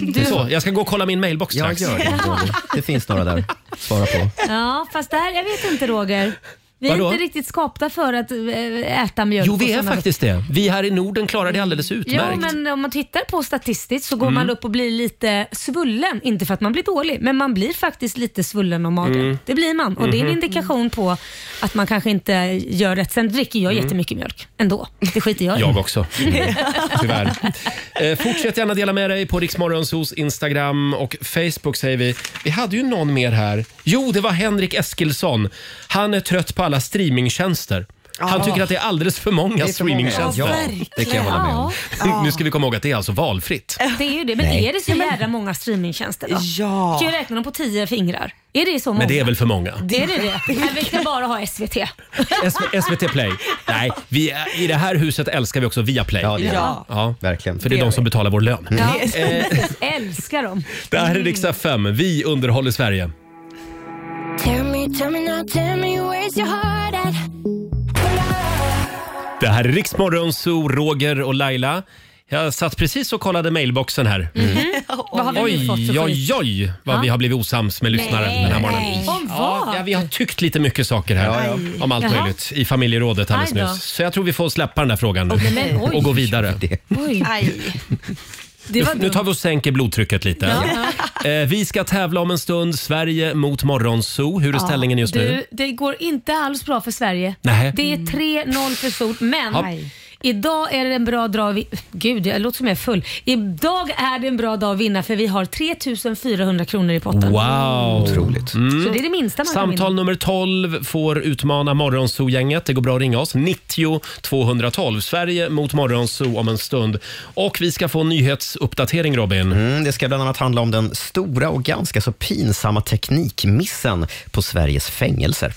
Du-
Så, jag ska gå och kolla min mailbox
Ja,
strax.
gör det. Det finns några där. Svara på.
Ja, fast det här, jag vet inte Roger. Vi är
Vadå?
inte riktigt skapta för att eh, äta mjölk.
Jo, vi
och
är
sådana-
faktiskt det. Vi här i Norden klarar det alldeles
Ja,
utmärkt.
men om man tittar på statistiskt så går
Mm.
man upp och blir lite svullen. Inte för att man blir dålig, men man blir faktiskt lite svullen om magen.
Mm.
Det blir man och det är en
Mhm.
indikation på att man kanske inte gör rätt. Sen dricker jag
Mm.
jättemycket mjölk ändå. Det skiter jag i.
Jag också. Mm. Tyvärr. Eh, fortsätt gärna dela med dig på Riksmorgonsos Instagram och Facebook säger vi. Vi hade ju någon mer här. Jo, det var Henrik Eskilsson. Han är trött på alla streamingtjänster. Han
Ja.
tycker att det är alldeles för många
Det är för många.
streamingtjänster.
Ja,
det kan jag hålla med om.
Ja.
Nu ska vi komma ihåg att det är alltså valfritt.
Det är ju det. Men
Nej.
är det så jävla många streamingtjänster då?
Ja.
Kan jag räkna dem på tio fingrar? Är det så många?
Men det är väl för många?
Det är det. det. Men vi ska bara ha SVT.
SV- SVT Play. Nej, vi, är- i det här huset älskar vi också Viaplay.
det gör vi. Ja.
verkligen. För det är de som betalar vår lön.
Ja.
Eh,
Älskar dem.
det här är Riksdag 5. Vi underhåller Sverige.
Tell me, tell me now, tell me where's your heart at?
Det här är Riksmorgon, Zoo, Roger och Laila. Jag satt precis och kollade mailboxen här.
Vad Mhm. Mm. har vi nu
Oj,
fått för
oj,
skit?
oj, vad
Ja.
vi har blivit osams med lyssnare
Nej.
den här morgonen.
Nej. Om
Ja,
vad?
ja, vi har tyckt lite mycket saker här
Ja,
om allt
Jaha.
möjligt i familjerådet alldeles
Aj då.
nyss. Så jag tror vi får släppa den där frågan nu
Okej, men oj.
och gå vidare.
Oj. Det
Nu,
var
nu
dumt.
tar vi och sänker blodtrycket lite. Eh, vi ska tävla om en stund. Sverige mot Morgonzoo. Hur är
Ja,
ställningen just nu?
du, Det går inte alls bra för Sverige.
Nähä.
Det är 3-0 för sol, men
Ja.
idag är det en bra dag. Vi, gud, jag låter som jag är full. Idag är det en bra dag att vinna för vi har 3400 kronor i potten.
Wow! Otroligt. Mm.
Så det är det minsta man kan
Samtal
vinna.
nummer 12 får utmana Morgonzoo-gänget. Det går bra att ringa oss. 90 212. Sverige mot Morgonzoo om en stund. Och vi ska få en nyhetsuppdatering, Robin.
Mm, det ska bland annat handla om den stora och ganska så pinsamma teknikmissen på Sveriges fängelser.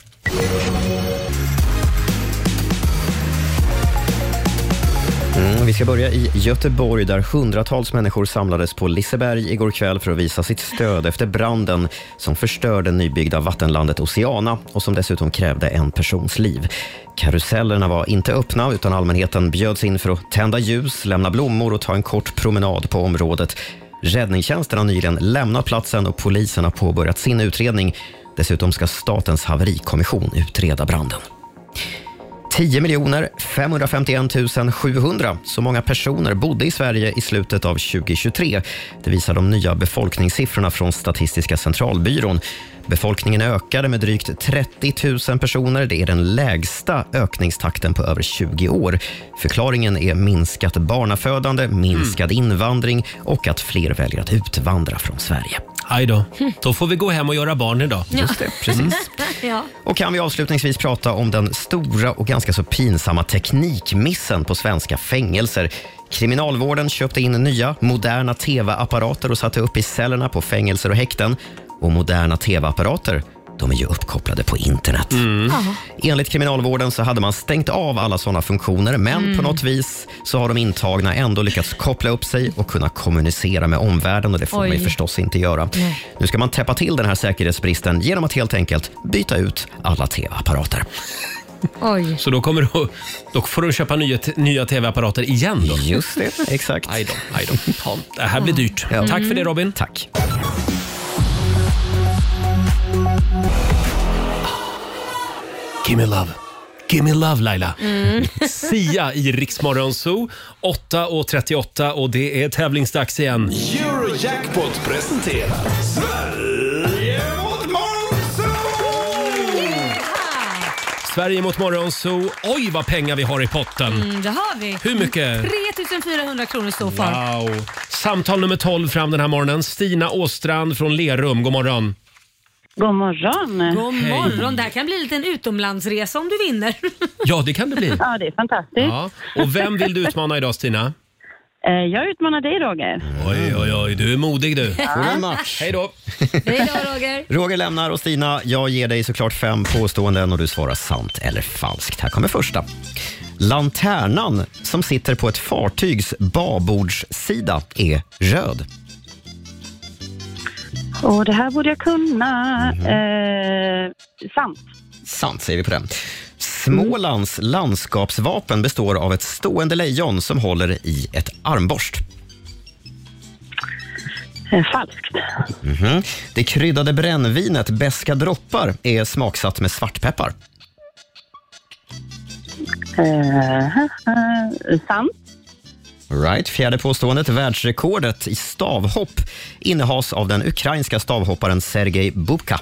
Mm, vi ska börja i Göteborg där hundratals människor samlades på Liseberg igår kväll för att visa sitt stöd efter branden som förstörde nybyggda vattenlandet Oceana och som dessutom krävde en persons liv. Karusellerna var inte öppna utan allmänheten bjöds in för att tända ljus, lämna blommor och ta en kort promenad på området. Räddningstjänsten har nyligen lämnat platsen och polisen har påbörjat sin utredning. Dessutom ska Statens haverikommission utreda branden. 10 miljoner 551 700. Så många personer bodde i Sverige i slutet av 2023. Det visar de nya befolkningssiffrorna från Statistiska centralbyrån. Befolkningen ökade med drygt 30 000 personer. Det är den lägsta ökningstakten på över 20 år. Förklaringen är minskat barnafödande, minskad
Mm.
invandring och att fler väljer att utvandra från Sverige. Mm.
Aj då. Då får vi gå hem och göra barn idag.
Just det, precis.
ja.
Och kan vi avslutningsvis prata om den stora och ganska så pinsamma teknikmissen på svenska fängelser. Kriminalvården köpte in nya, moderna TV-apparater och satte upp i cellerna på fängelser och häkten. Och moderna TV-apparater, de är ju uppkopplade på internet.
Ja.
Enligt kriminalvården så hade man stängt av alla sådana funktioner, men
Mm.
på något vis så har de intagna ändå lyckats koppla upp sig och kunna kommunicera med omvärlden och det får
Oj.
man ju förstås inte göra.
Nej.
Nu ska man täppa till den här säkerhetsbristen genom att helt enkelt byta ut alla tv-apparater.
Oj.
Så då, kommer du, då får du köpa nya, nya tv-apparater igen då?
Just det, exakt.
Aj då, aj då. Ja, det här blir dyrt.
Ja.
Tack för det
Mm.
Robin.
Tack.
Gimme love. Gimme love Laila.
Mm.
Sia i Riksmorgon Zoo. 8.38 och det är tävlingsdags igen.
Eurojackpot presenterar Sverige mot Monzo!
Sverige mot Morgonzoo. Oj, vad pengar vi har i potten!
Mm, det har vi.
Hur mycket?
3400 kronor i så fall.
Wow! Samtal nummer 12 fram den här morgonen. Stina Åstrand från Lerum. God morgon!
God morgon.
God
Hej.
morgon. Det här kan bli en liten utomlandsresa om du vinner.
Ja, det kan det bli.
Ja, det är fantastiskt.
Ja. Och vem vill du utmana idag, Stina?
Eh, Jag utmanar dig, Roger.
Oj, oj, oj. Du är modig du.
Får du en
match?
Hej då!
Hej då, Roger.
Roger lämnar och Stina, jag ger dig såklart fem påståenden och du svarar sant eller falskt. Här kommer första. Lanternan som sitter på ett fartygs babordssida är röd.
Och det här borde jag kunna. Eh, sant.
Sant säger vi på den. Smålands landskapsvapen består av ett stående lejon som håller i ett armborst.
Eh, falskt.
Mhm. Det kryddade brännvinet Beska droppar är smaksatt med svartpeppar.
Eh, eh, sant.
All Right. Fjärde påståendet. Världsrekordet i stavhopp innehas av den ukrainska stavhopparen Sergej Bubka.